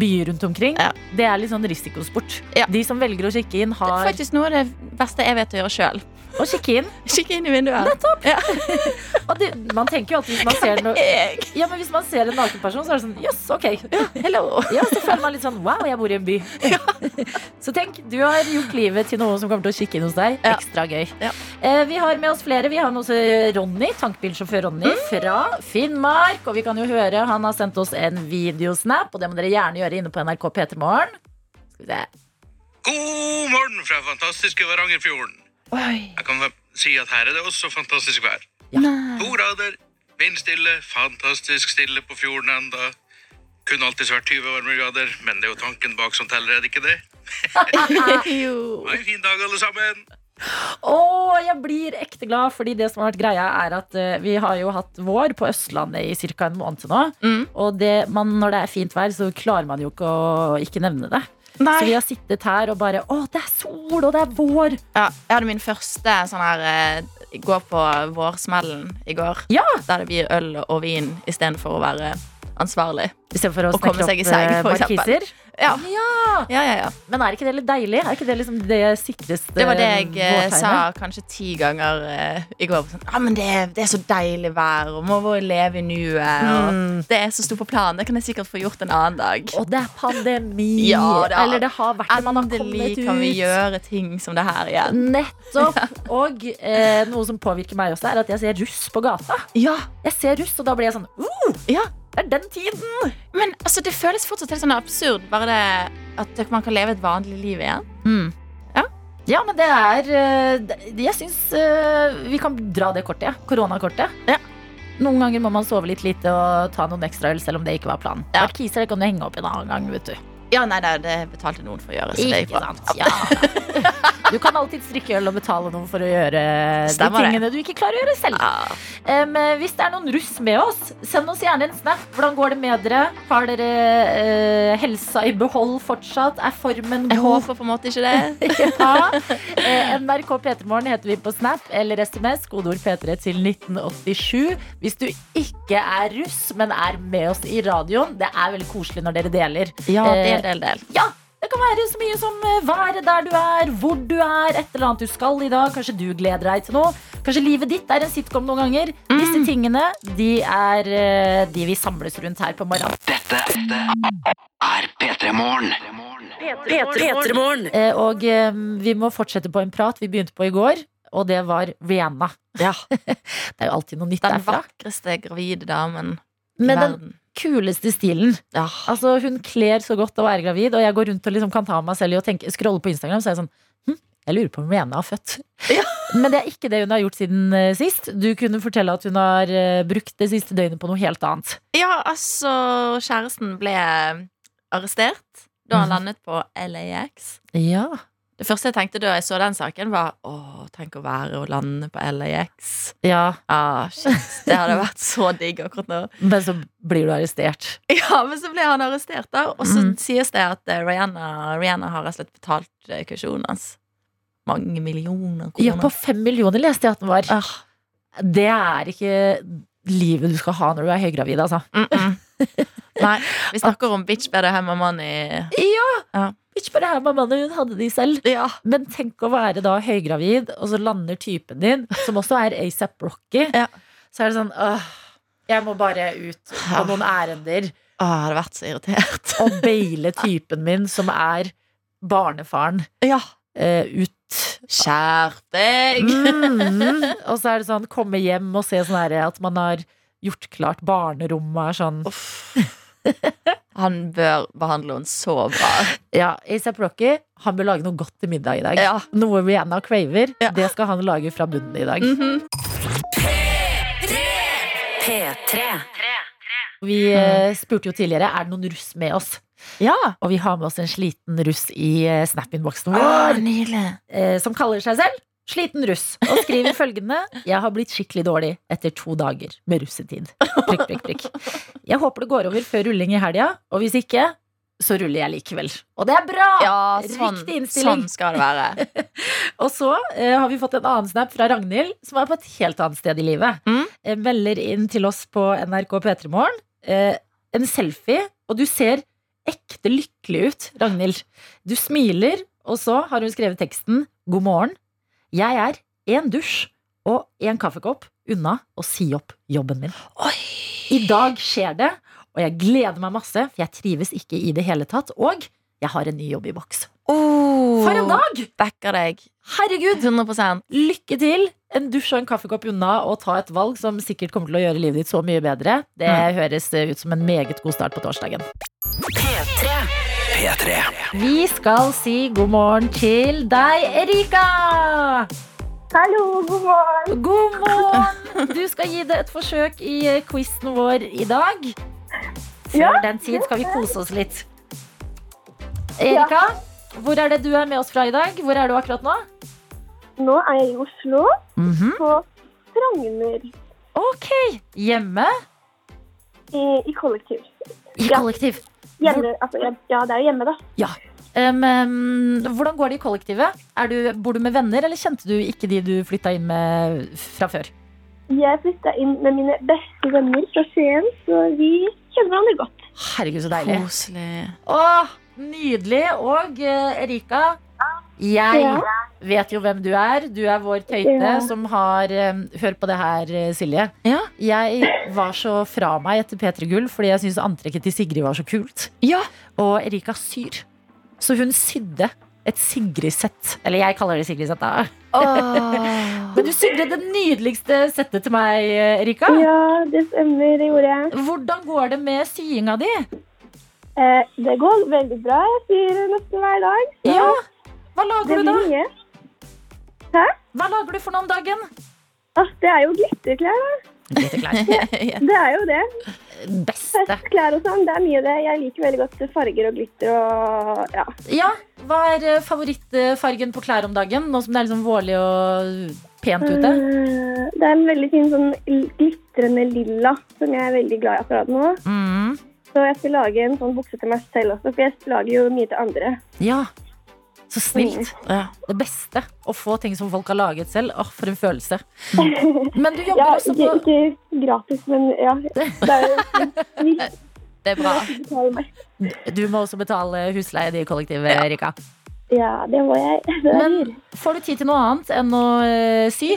Speaker 4: byer rundt omkring,
Speaker 9: Ja.
Speaker 4: det er litt sånn risikosport.
Speaker 9: Ja.
Speaker 4: De som velger å kikke inn,
Speaker 9: det er
Speaker 4: har
Speaker 9: faktisk noe av det beste jeg vet å gjøre sjøl.
Speaker 4: å kikke inn.
Speaker 9: *laughs* Kikke inn i vinduet.
Speaker 4: *laughs* Og det, man tenker jo at hvis man ser noe
Speaker 9: Jeg.
Speaker 4: ja, men hvis man ser en naken person, så er det sånn Jøss, yes, ok. Ja, så føler man litt sånn Wow, jeg bor i en by. Så tenk, du har gjort livet til noen som kommer til å kikke inn hos deg.
Speaker 9: Ja.
Speaker 4: Ekstra gøy.
Speaker 9: Ja.
Speaker 4: Eh, vi har med oss flere. Vi har med oss eh, Ronny, tankbilsjåfør Ronny
Speaker 9: Mm.
Speaker 4: fra Finnmark. Og vi kan jo høre, han har sendt oss en videosnap, og det må dere gjerne gjøre inne på NRK P3 Morgen. Skal vi se.
Speaker 6: God morgen fra fantastiske Varangerfjorden.
Speaker 4: *laughs*
Speaker 6: Jeg kan si at her er det også fantastisk vær. To grader, vindstille, fantastisk stille på fjorden enda. Kunne alltid vært 20 varmegrader, men det er jo tanken bak som teller, er det ikke det?
Speaker 9: *laughs* Jo.
Speaker 6: Ha en fin dag, alle sammen!
Speaker 4: Å, jeg blir ekte glad, fordi det som har vært greia er at eh, vi har jo hatt vår på Østlandet i ca. en måned til nå.
Speaker 9: Mm.
Speaker 4: Og det, man, når det er fint vær, så klarer man jo ikke å ikke nevne det. Så vi
Speaker 9: Nei.
Speaker 4: har sittet her og bare Å, det er sol, og det er vår!
Speaker 9: Ja, jeg hadde min første sånn her eh, gå på vårsmellen i går.
Speaker 4: Ja!
Speaker 9: Der det blir øl og vin istedenfor å være ansvarlig.
Speaker 4: Istedenfor å
Speaker 9: Å komme
Speaker 4: snekre
Speaker 9: seg i
Speaker 4: opp
Speaker 9: seng,
Speaker 4: eh,
Speaker 9: for eksempel.
Speaker 4: markiser.
Speaker 9: Ja. Ja, ja, ja.
Speaker 4: Men er ikke det litt deilig? Er ikke det liksom det sikreste
Speaker 9: Det var det jeg eh,
Speaker 4: vårtegnet?
Speaker 9: sa kanskje ti ganger eh, i går. Sånn, ah, men det, det er så deilig vær, og må bare leve i nuet. eh, Og det er så stor på planen. Det kan jeg sikkert få gjort en annen dag.
Speaker 4: Og Mm. det er pandemi!
Speaker 9: Ja, det er-
Speaker 4: Eller det har vært det. Man har kommet
Speaker 9: Endelig
Speaker 4: ut.
Speaker 9: kan vi gjøre ting som liksom det her igjen. *laughs*
Speaker 4: Nettopp. Og eh, noe som påvirker meg også, er at jeg ser russ på gata.
Speaker 9: Ja,
Speaker 4: Jeg ser russ, og da blir jeg sånn uh,
Speaker 9: ja.
Speaker 4: Det er den tiden!
Speaker 9: Men altså, det føles fortsatt helt sånn absurd bare det at man kan leve et vanlig liv igjen.
Speaker 4: Ja, men det er eh, det- Jeg syns eh, vi kan dra det kortet. ja. Koronakortet. Noen ganger må man sove litt lite og ta noen ekstra øl, selv om det ikke var planen.
Speaker 9: Ja.
Speaker 4: Markiser det kan du henge opp en annen gang, vet du.
Speaker 9: Ja, nei, nei, det betalte noen for å gjøre. Så det gikk
Speaker 4: Ikke
Speaker 9: bra.
Speaker 4: sant? Ja. Du kan alltid strikke øl og betale noen for å gjøre
Speaker 9: Stemmer
Speaker 4: de
Speaker 9: det.
Speaker 4: tingene du ikke klarer å gjøre selv.
Speaker 9: Ja.
Speaker 4: Em, eh, hvis det er noen russ med oss, send oss gjerne en snap. Hvordan går det med dere? Har dere eh, helsa i behold fortsatt? Er formen god?
Speaker 9: Jeg håper på en måte ikke det.
Speaker 4: *laughs*
Speaker 9: *laughs*
Speaker 4: Ja. Eh, NRK P3morgen heter vi på Snap eller SMS. Kodeord P3 til 1987. Hvis du ikke er russ, men er med oss i radioen, det er veldig koselig når dere deler.
Speaker 9: Ja,
Speaker 4: del,
Speaker 9: del, del, del.
Speaker 4: Ja, det kan være så mye som eh, været der du er, hvor du er, et eller annet du skal i dag. Kanskje du gleder deg til noe. Kanskje livet ditt er en sitcom noen ganger.
Speaker 9: Mm.
Speaker 4: Disse tingene de er eh, de vi samles rundt her på morgenen.
Speaker 13: Dette er P3 Morgen.
Speaker 11: P3morgen.
Speaker 4: Eh, Og eh, vi må fortsette på en prat vi begynte på i går, og det var Rihanna. *laughs* det er jo alltid noe nytt
Speaker 9: Den
Speaker 4: derfra.
Speaker 9: vakreste gravide damen i
Speaker 4: Med den
Speaker 9: verden.
Speaker 4: kuleste stilen.
Speaker 9: Ja.
Speaker 4: Altså, hun kler så godt å være gravid, og jeg går rundt og liksom kan ta meg selv i å tenke, scrolle på Instagram, så er jeg sånn hm, jeg lurer på om Rihanna har født. *laughs* Men det er ikke det hun har gjort siden eh, sist. Du kunne fortelle at hun har eh, brukt det siste døgnet på noe helt annet.
Speaker 9: ja, altså, kjæresten ble arrestert da han
Speaker 4: Mhm.
Speaker 9: landet på LAX.
Speaker 4: Ja.
Speaker 9: Det første jeg tenkte da jeg så den saken, var å, tenk å være og lande på LAX.
Speaker 4: ja.
Speaker 9: Ah, shit, Det
Speaker 4: *laughs*
Speaker 9: hadde vært så digg akkurat nå.
Speaker 4: Men så blir du arrestert.
Speaker 9: Ja, Men så ble han arrestert, da. Og så
Speaker 4: Mhm.
Speaker 9: sies det at eh, Rihanna, Rihanna har rett og slett betalt eh, kursjonen hans. Mange millioner
Speaker 4: Ja, på
Speaker 9: kroner.
Speaker 4: fem millioner leste jeg at den var.
Speaker 9: Ah,
Speaker 4: Det er ikke livet du skal ha når du er høygravid, altså.
Speaker 9: mm -mm. *laughs* Nei, vi snakker om bitch better have my money.
Speaker 4: Bitch, bare her, mamma, hun hadde de selv.
Speaker 9: Ja.
Speaker 4: Men tenk å være da høygravid, og så lander typen din, som også er ASAP Rocky.
Speaker 9: Ja.
Speaker 4: Så er det sånn åh, jeg må bare ut på noen ærender
Speaker 9: Åh, jeg hadde vært så irritert.
Speaker 4: og baile typen min, som er barnefaren.
Speaker 9: Ja,
Speaker 4: eh, ut.
Speaker 8: Skjerp deg!
Speaker 4: Mm.
Speaker 9: *laughs*
Speaker 4: Og så er det sånn komme hjem og se sånn her at man har gjort klart barnerommet. er Sånn.
Speaker 8: Han bør behandle henne så bra.
Speaker 4: *laughs* Ja, A$AP Rocky han bør lage noe godt til middag i dag.
Speaker 8: Ja.
Speaker 4: Noe Rihanna craver.
Speaker 8: Ja. Mhm.
Speaker 4: Det skal han lage fra bunnen i dag.
Speaker 1: P3.
Speaker 4: Vi eh, spurte jo tidligere er det noen russ med oss.
Speaker 8: Mm. Ja.
Speaker 4: Og vi har med oss en sliten russ i eh, Snap-innboksen
Speaker 8: Ah,
Speaker 4: vår.
Speaker 8: nydelig.
Speaker 4: eh, som kaller seg selv Sliten russ, og
Speaker 8: *laughs*
Speaker 4: skriver følgende Jeg har blitt skikkelig dårlig etter to dager med russetid. Prikk, prikk, prikk.
Speaker 8: *laughs*
Speaker 4: Jeg håper det går over før rulling i helga, og hvis ikke, så ruller jeg likevel. Og det er bra!
Speaker 8: Ja, sånn,
Speaker 4: Riktig innstilling.
Speaker 8: sånn skal det
Speaker 4: *laughs*
Speaker 8: være.
Speaker 4: Og så eh, har vi fått en annen snap fra Ragnhild, som er på et helt annet sted i livet.
Speaker 8: Mm.
Speaker 4: Eh, melder inn til oss på NRK P3 Morgen eh, en selfie, og du ser ekte lykkelig ut, Ragnhild. Du smiler, og så har hun skrevet teksten 'God morgen'. Jeg er én dusj og én kaffekopp unna å si opp jobben min. I dag skjer det, og jeg gleder meg masse, for jeg trives ikke i det hele tatt. Og jeg har en ny jobb i boks.
Speaker 8: Oh,
Speaker 4: For en dag!
Speaker 8: Backer deg.
Speaker 4: Herregud!
Speaker 8: 100
Speaker 4: Lykke til! En dusj og en kaffekopp unna og ta et valg som sikkert kommer til å gjøre livet ditt så mye bedre. Det
Speaker 8: Mm.
Speaker 4: høres eh, ut som en meget god start på torsdagen.
Speaker 2: P3.
Speaker 4: Vi skal si god morgen til deg, Erika!
Speaker 11: Hallo, god morgen.
Speaker 4: God morgen! Du skal gi det et forsøk i eh, quizen vår i dag. Før
Speaker 11: Ja,
Speaker 4: den tid skal vi kose oss litt. Erika, hvor er det du er med oss fra i dag? Hvor er du akkurat nå?
Speaker 11: Nå er jeg i Oslo, på Frogner,
Speaker 4: Mhm. Ok, hjemme
Speaker 11: i, i kollektiv.
Speaker 4: i
Speaker 11: Ja.
Speaker 4: kollektiv.
Speaker 11: Hjemme, altså, ja, ja, det er jo hjemme, da.
Speaker 4: Um, um, hvordan går det i kollektivet? Er du, bor du med venner, eller kjente du ikke de du flytta inn med fra før?
Speaker 11: Jeg flytta inn med mine beste venner fra Skien, så vi kjenner hverandre godt.
Speaker 4: Herregud, så deilig.
Speaker 8: Koselig.
Speaker 4: Åh, nydelig. Og eh, Erika, jeg
Speaker 11: Ja.
Speaker 4: vet jo hvem du er. Du er vår tøyte
Speaker 11: Ja.
Speaker 4: som har um, Hør på det her, eh, Silje.
Speaker 8: Ja.
Speaker 4: Jeg var så fra meg etter P3 Gull fordi jeg syntes antrekket til Sigrid var så kult.
Speaker 8: Ja.
Speaker 4: Og Erika syr. Så hun sydde et Sigrid-sett. Eller jeg kaller det Sigrid-sett, da. *laughs* Men du sydde det nydeligste settet til meg, eh, Erika.
Speaker 11: Ja, det stemmer, det gjorde jeg.
Speaker 4: Hvordan går det med syinga di?
Speaker 11: Eh, det går veldig bra. Jeg syr nesten hver dag. så
Speaker 4: Ja. Hva
Speaker 11: det
Speaker 4: lager du da?
Speaker 11: blir mye.
Speaker 4: Hva lager du for noe om dagen?
Speaker 11: Altså, det er jo glitterklær, da.
Speaker 4: *laughs*
Speaker 11: *laughs* Det er jo det.
Speaker 4: Beste.
Speaker 11: Festklær og sånn, det er mye det. Jeg liker veldig godt farger og glitter og ja.
Speaker 4: Ja, hva er eh, favorittfargen på klær om dagen? Nå som det er liksom vårlig og pent ute.
Speaker 11: Eh, Det er en veldig fin sånn l- glitrende lilla som jeg er veldig glad i akkurat nå.
Speaker 4: Mm.
Speaker 11: Så jeg skal lage en sånn bukse til meg selv også, for jeg lager jo mye til andre.
Speaker 4: Ja. Så snilt.
Speaker 11: Mm.
Speaker 8: Ja.
Speaker 4: Det beste. Å få ting som folk har laget selv. Åh, For en følelse.
Speaker 11: *laughs*
Speaker 4: Men du jobber
Speaker 11: Ja,
Speaker 4: også på
Speaker 11: ikke, ikke gratis, men
Speaker 4: *laughs*
Speaker 11: ja. Det er jo snilt
Speaker 8: Det er bra.
Speaker 11: å betale meg.
Speaker 4: Du må også betale husleie i kollektivet, Erika.
Speaker 11: Ja, det må jeg. *laughs* Det er
Speaker 4: Men får du tid til noe annet enn å eh, sy?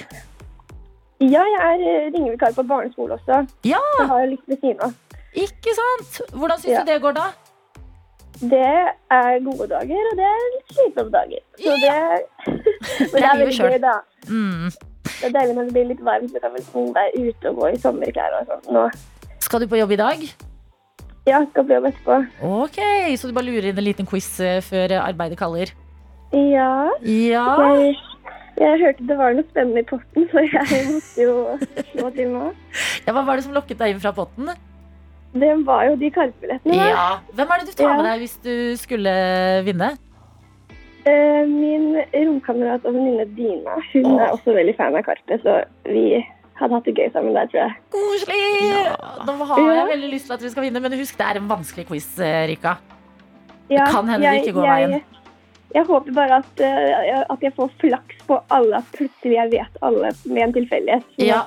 Speaker 11: Ja, jeg er eh, ringevikar på barneskole også.
Speaker 4: Ja!
Speaker 11: Så har jeg litt ved siden av.
Speaker 4: Ikke sant? Hvordan syns
Speaker 11: Ja.
Speaker 4: du det går, da?
Speaker 11: Det er gode dager, og det er litt slitsomme dager. Så det, *laughs* men det
Speaker 4: Det er
Speaker 11: er
Speaker 4: livet
Speaker 11: veldig
Speaker 4: selv.
Speaker 11: gøy, da.
Speaker 4: Mm.
Speaker 11: Det er deilig når det blir litt varmt, så kan vi liksom være ute og gå i sommerklær og sånn. Nå
Speaker 4: Skal du på jobb i dag?
Speaker 11: Ja, skal bli jobb etterpå.
Speaker 4: Ok, Så du bare lurer inn en liten quiz eh, før arbeidet kaller?
Speaker 11: Ja.
Speaker 4: Ja.
Speaker 11: Jeg, jeg hørte det var noe spennende i potten, så *laughs* jeg *laughs* måtte jo slå til nå.
Speaker 4: ja. Hva var det som lokket deg inn fra potten?
Speaker 11: Det var jo de karpebillettene. da.
Speaker 4: Ja. Hvem er det du tar
Speaker 11: Ja.
Speaker 4: med deg hvis du skulle vinne?
Speaker 11: Eh, Min romkamerat og venninne Dina hun er også veldig fan av Karpe, så vi hadde hatt det gøy sammen der, tror jeg.
Speaker 4: Koselig! Nå har jeg veldig lyst til at vi skal vinne, men husk det er en vanskelig quiz, eh, Rika.
Speaker 11: Ja,
Speaker 4: kan hende det ikke går veien.
Speaker 11: Jeg, jeg håper bare at, eh, at jeg får flaks på alle, at plutselig jeg vet alle med en tilfeldighet. Så
Speaker 4: Ja.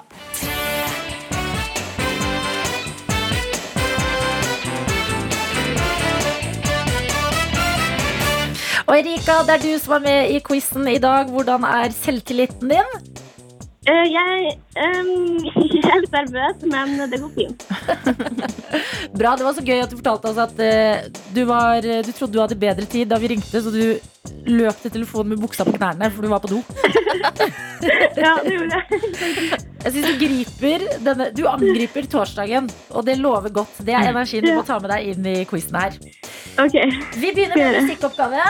Speaker 4: Og Erika, det er du som er med i quizen i dag. Hvordan er selvtilliten din?
Speaker 11: Eh, jeg, ehm, *laughs* jeg er litt nervøs, men det går fint.
Speaker 4: *laughs* Bra, Det var så gøy at du fortalte oss at eh, du, var, du trodde du hadde bedre tid da vi ringte, så du løp til telefonen med buksa på knærne, for du var på do.
Speaker 11: *laughs* Ja, det gjorde jeg.
Speaker 4: Jeg synes Du griper denne, du angriper torsdagen, og det lover godt. Det er energien du må ta med deg inn i quizen her.
Speaker 11: Ok.
Speaker 4: Vi begynner med musikkoppgave.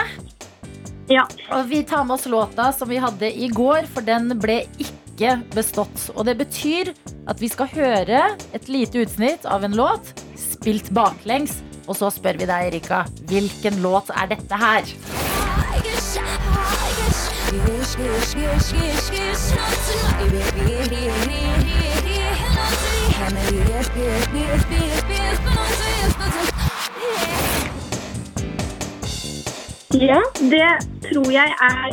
Speaker 4: Og vi tar med oss låta som vi hadde i går, for den ble ikke bestått. Og det betyr at vi skal høre et lite utsnitt av en låt spilt baklengs. Og så spør vi deg, Erika, hvilken låt er dette her?
Speaker 11: Ja, det tror jeg er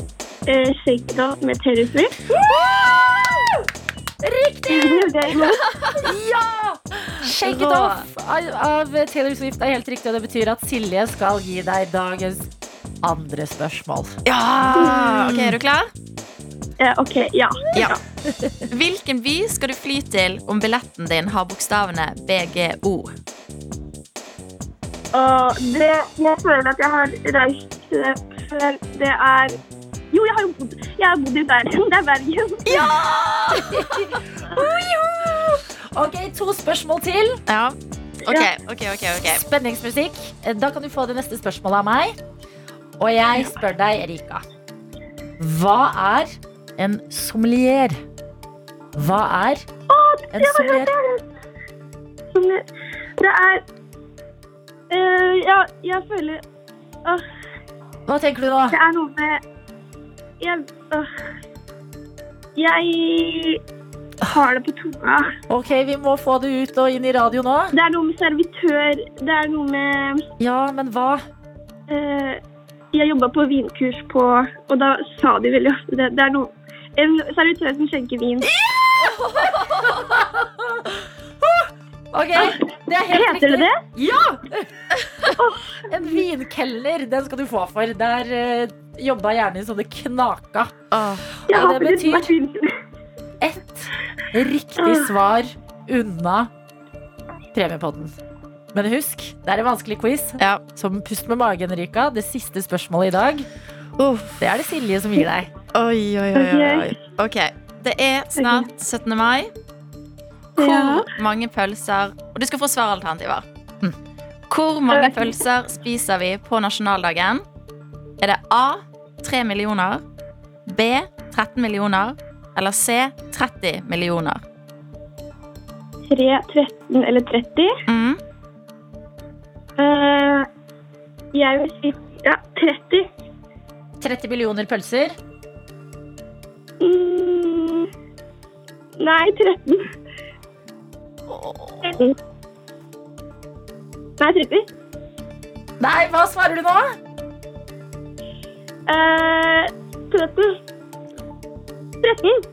Speaker 11: eh, Shake It Off med Taylor Swift.
Speaker 4: Riktig!
Speaker 11: Det er imot.
Speaker 4: Ja! Shake it off av av Taylor Swift er helt riktig, og det betyr at Silje skal gi deg dagens andre spørsmål.
Speaker 8: Ja! Ok, Er du klar?
Speaker 11: Eh, ok, ja.
Speaker 8: Ja. Hvilken by skal du fly til om billetten din har bokstavene BGO?
Speaker 11: Og det jeg føler at jeg har reist eh, før, det er Jo, jeg har jo bodd, jeg har bodd i Bergen. Det er Bergen.
Speaker 8: Ja!
Speaker 11: *laughs*
Speaker 4: Ok, to spørsmål til.
Speaker 8: Ja. Ok, ok, ok. ok
Speaker 4: Spenningsmusikk. Da kan du få det neste spørsmålet av meg. Og jeg spør deg, Erika. Hva er en sommelier? Hva er en sommelier?
Speaker 11: Som det- Det er eh, Ja, jeg føler Åh,
Speaker 4: Hva tenker du nå?
Speaker 11: Det er noe med Jeg åh. Jeg har det på tunga.
Speaker 4: Ok, Vi må få det ut og inn i radio nå.
Speaker 11: Det er noe med servitør. Det er noe med
Speaker 4: Ja, men hva?
Speaker 11: eh, Jeg jobba på vinkurs på Og da sa de veldig ofte det. Det er noe En servitør som skjenker vin.
Speaker 4: *laughs* Ok, det er helt
Speaker 11: Ah. Heter det det?
Speaker 4: Ja!
Speaker 11: *laughs*
Speaker 4: En vinkelner, den skal du få for. Der eh, jobba hjernen din så det knaka. Og
Speaker 11: Jeg har
Speaker 4: det
Speaker 11: faktisk
Speaker 4: betyr
Speaker 11: vært Ah. vinkur.
Speaker 4: ett riktig svar unna premiepodden. Men husk, det er en vanskelig quiz.
Speaker 8: Ja.
Speaker 4: Som pust med magen, Rika. Det siste spørsmålet i dag, det er det Silje som gir deg.
Speaker 8: Oi, oi, oi, oi, oi. Ok, Det er snart 17. mai. Hvor mange pølser Og du skal få svaralternativer. Hm. Hvor mange pølser spiser vi på nasjonaldagen? Er det A 3 millioner, B 13 millioner eller C 30 millioner?
Speaker 11: 3, 13 eller 30.
Speaker 8: Mm.
Speaker 11: Eh, jeg vil si ja, 30.
Speaker 4: 30 millioner pølser.
Speaker 11: Mm, nei, 13. Nei, 30.
Speaker 4: Nei, hva svarer du nå?
Speaker 11: Eh, 13. 13?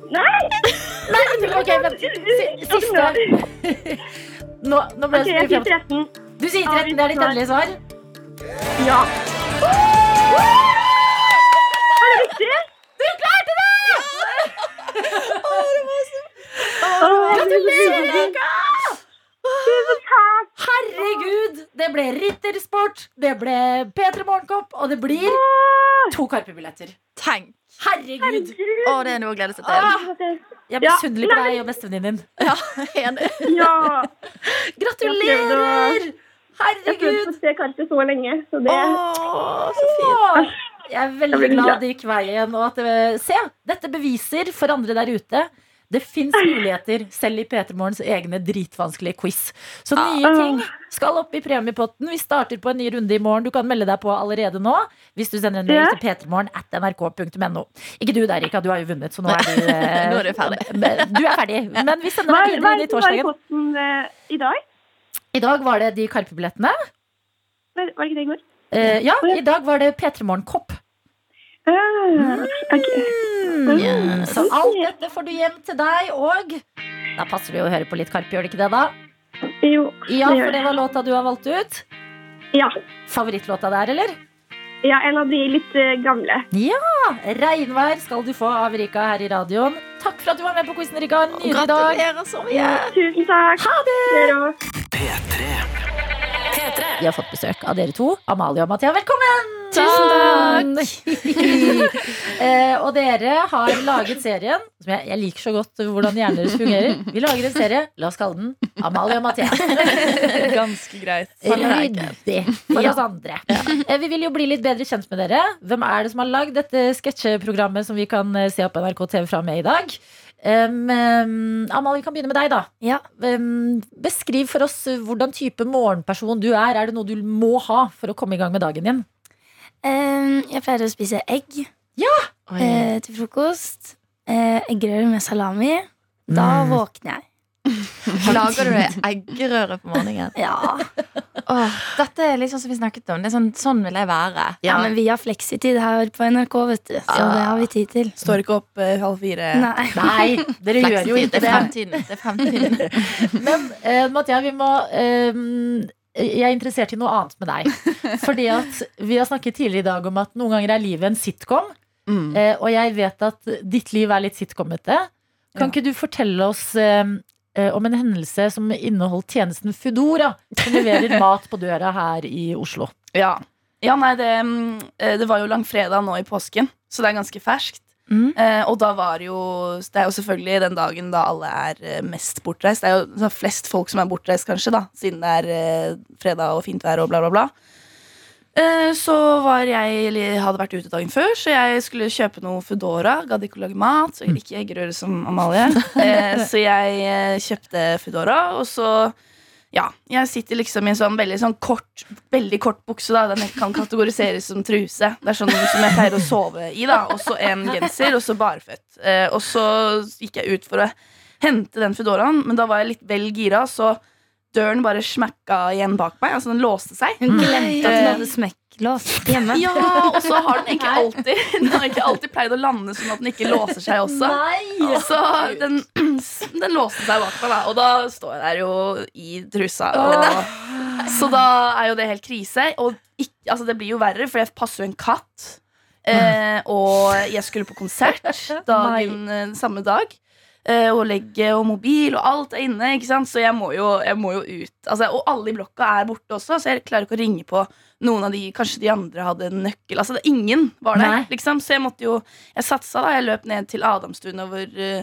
Speaker 11: Nei!
Speaker 4: Nei, men- ok,
Speaker 11: *laughs*
Speaker 4: men si- siste. *laughs* Nå, nå ble
Speaker 11: Ok,
Speaker 4: det så
Speaker 11: jeg
Speaker 4: mye
Speaker 11: sier
Speaker 4: fram.
Speaker 11: 13.
Speaker 4: Du sier 13, det er ditt endelige svar?
Speaker 11: Ja. Er det riktig?
Speaker 4: Du klarte det!
Speaker 11: Åh,
Speaker 4: Gratulerer,
Speaker 11: det er så
Speaker 4: Rika!
Speaker 11: Tusen takk!
Speaker 4: Herregud! Det ble Rittersport, det ble P3 Morgenkopp, og det blir to Karpe-billetter.
Speaker 8: Tenk!
Speaker 4: Herregud!
Speaker 8: Å, det er noe å glede
Speaker 4: *laughs*
Speaker 8: seg til.
Speaker 4: Ah, jeg blir misunnelig på deg og bestevenninnen din.
Speaker 8: Ja, enig.
Speaker 11: Ja.
Speaker 4: *laughs* Gratulerer!
Speaker 11: Jeg har prøvd å
Speaker 4: Herregud!
Speaker 11: se kanskje så lenge, så det
Speaker 8: Å, så fint.
Speaker 4: Åh, Jeg er veldig
Speaker 11: Jeg blir
Speaker 4: glad
Speaker 11: glad.
Speaker 4: det gikk veien. Og at det, se, dette beviser for andre der ute. Det fins muligheter, selv i P3 Morgens egne dritvanskelige quiz. Så
Speaker 11: Ah.
Speaker 4: nye ting skal opp i premiepotten. Vi starter på en ny runde i morgen. Du kan melde deg på allerede nå hvis du sender en mail
Speaker 11: Ja.
Speaker 4: til p3morgen at nrk.no. Ikke du der, Rika. Du har jo vunnet, så nå er du,
Speaker 11: *laughs*
Speaker 4: eh,
Speaker 8: Nå er du ferdig.
Speaker 4: *laughs* men- Du er ferdig. Men vi sender
Speaker 11: Hva
Speaker 4: deg
Speaker 11: er
Speaker 4: videre
Speaker 11: hva er
Speaker 4: inn i
Speaker 11: det som var i
Speaker 4: torsdagen.
Speaker 11: posten eh, i dag?
Speaker 4: I dag var det de Karpe-billettene.
Speaker 11: Var var det ikke det i går?
Speaker 4: Eh, ja, i dag var det P3 Morgen-kopp.
Speaker 11: Ah, ok. Ah.
Speaker 4: Mm, Så alt dette får du hjem til deg, og da passer det jo å høre på litt Karpe, gjør det ikke det, da?
Speaker 11: Jo,
Speaker 4: Ja,
Speaker 11: det gjør
Speaker 4: for det var låta du har valgt ut.
Speaker 11: Ja.
Speaker 4: Favorittlåta der, eller?
Speaker 11: Ja, en av de litt eh, gamle.
Speaker 4: Ja! Regnvær skal du få av Rika her i radioen. Takk for at du var med på quizen, Rika. En Nydelig dag.
Speaker 8: Gratulerer så mye!
Speaker 11: Tusen takk.
Speaker 4: Ha det!
Speaker 11: Dere òg.
Speaker 4: Vi har fått besøk av dere to. Amalie og Mathea, velkommen!
Speaker 8: Tusen
Speaker 4: takk! *laughs* eh, og dere har laget serien som jeg, jeg liker så godt hvordan hjernen deres fungerer. Vi lager en serie. La oss kalle den Amalie og Mathea.
Speaker 9: Ganske greit.
Speaker 4: Ryddig for oss andre. Eh, Vi vil jo bli litt bedre kjent med dere. Hvem er det som har lagd dette sketsjeprogrammet som vi kan eh, se på NRK TV fra og med i dag? Um, um, Amalie, vi kan begynne med deg, da. Um, beskriv for oss eh, hvordan type morgenperson du er. Er det noe du må ha for å komme i gang med dagen din?
Speaker 14: Eh, jeg pleier å spise egg eh, til frokost. Eh, eggerøre med salami. Da
Speaker 8: Mm.
Speaker 14: våkner jeg.
Speaker 8: Lager du deg eggerøre på morgenen?
Speaker 14: *laughs* Ja.
Speaker 8: Åh, dette er litt sånn som vi snakket om. Det er sånn, sånn vil jeg være. Ah.
Speaker 14: ja, men vi har fleksitid her på NRK, vet du. Så det har vi tid til.
Speaker 9: Står ikke opp eh, halv fire.
Speaker 14: Nei.
Speaker 4: Nei,
Speaker 14: *laughs*
Speaker 4: dere gjør jo
Speaker 8: Fleksitid,
Speaker 4: ikke
Speaker 8: det er
Speaker 4: det.
Speaker 8: fremtiden. Det er fremtiden.
Speaker 4: *laughs* Men eh, Mathea, vi må ehm, Jeg er interessert i noe annet med deg. Fordi at vi har snakket tidligere i dag om at noen ganger er livet en sitcom.
Speaker 9: Mm.
Speaker 4: eh, og jeg vet at ditt liv er litt sitcomete. Kan ikke du fortelle oss ehm, eh, om en hendelse som inneholdt tjenesten Foodora, som
Speaker 9: *laughs*
Speaker 4: leverer mat på døra her i Oslo?
Speaker 9: Ja. ja, nei, det, mm, eh, det var jo langfredag nå i påsken, så det er ganske ferskt.
Speaker 8: Mm.
Speaker 9: Eh, og da var jo Det er jo selvfølgelig den dagen da alle er eh, mest bortreist. Det er jo sånn flest folk som er bortreist, kanskje, da siden det er eh, fredag og fint vær og bla, bla, bla. Eh, Så var jeg eller jeg hadde vært ute dagen før, så jeg skulle kjøpe noe Foodora. Gadd ikke å lage mat, så ikke eggerøre som Amalie. Eh, Så jeg eh, kjøpte Foodora, og så ja, jeg sitter liksom i en sånn veldig sånn kort Veldig kort bukse. da Den kan kategoriseres som truse. Det er sånn som jeg pleier å sove i. da Og så en genser, og så barføtt. Eh, og så gikk jeg ut for å hente den Foodoraen, men da var jeg litt vel gira, så døren bare smakka igjen bak meg. Altså den låste seg.
Speaker 14: Hun glemte at hun
Speaker 9: Eh,
Speaker 14: hadde smekklås hjemme.
Speaker 9: ja, og så har den egentlig alltid *laughs* Den har egentlig alltid pleid å lande sånn at den ikke låser seg også.
Speaker 4: Nei!
Speaker 9: Så den, *clears throat* den låste seg bak meg, da. Og da står jeg der jo i trusa. Og, så da er jo det helt krise. Og ikk- altså, det blir jo verre, for jeg passer jo en katt. Eh, og jeg skulle på konsert dagen, eh, samme dag. Eh, og legge og mobil og alt er inne, ikke sant? så jeg må jo, jeg må jo ut. Altså, og alle i blokka er borte også, så jeg klarer ikke å ringe på noen av de Kanskje de andre hadde en nøkkel. Altså, det, ingen var
Speaker 4: Nei.
Speaker 9: der. Liksom. Så jeg måtte jo Jeg satsa, da. Jeg løp ned til Adamstuen, og hvor eh,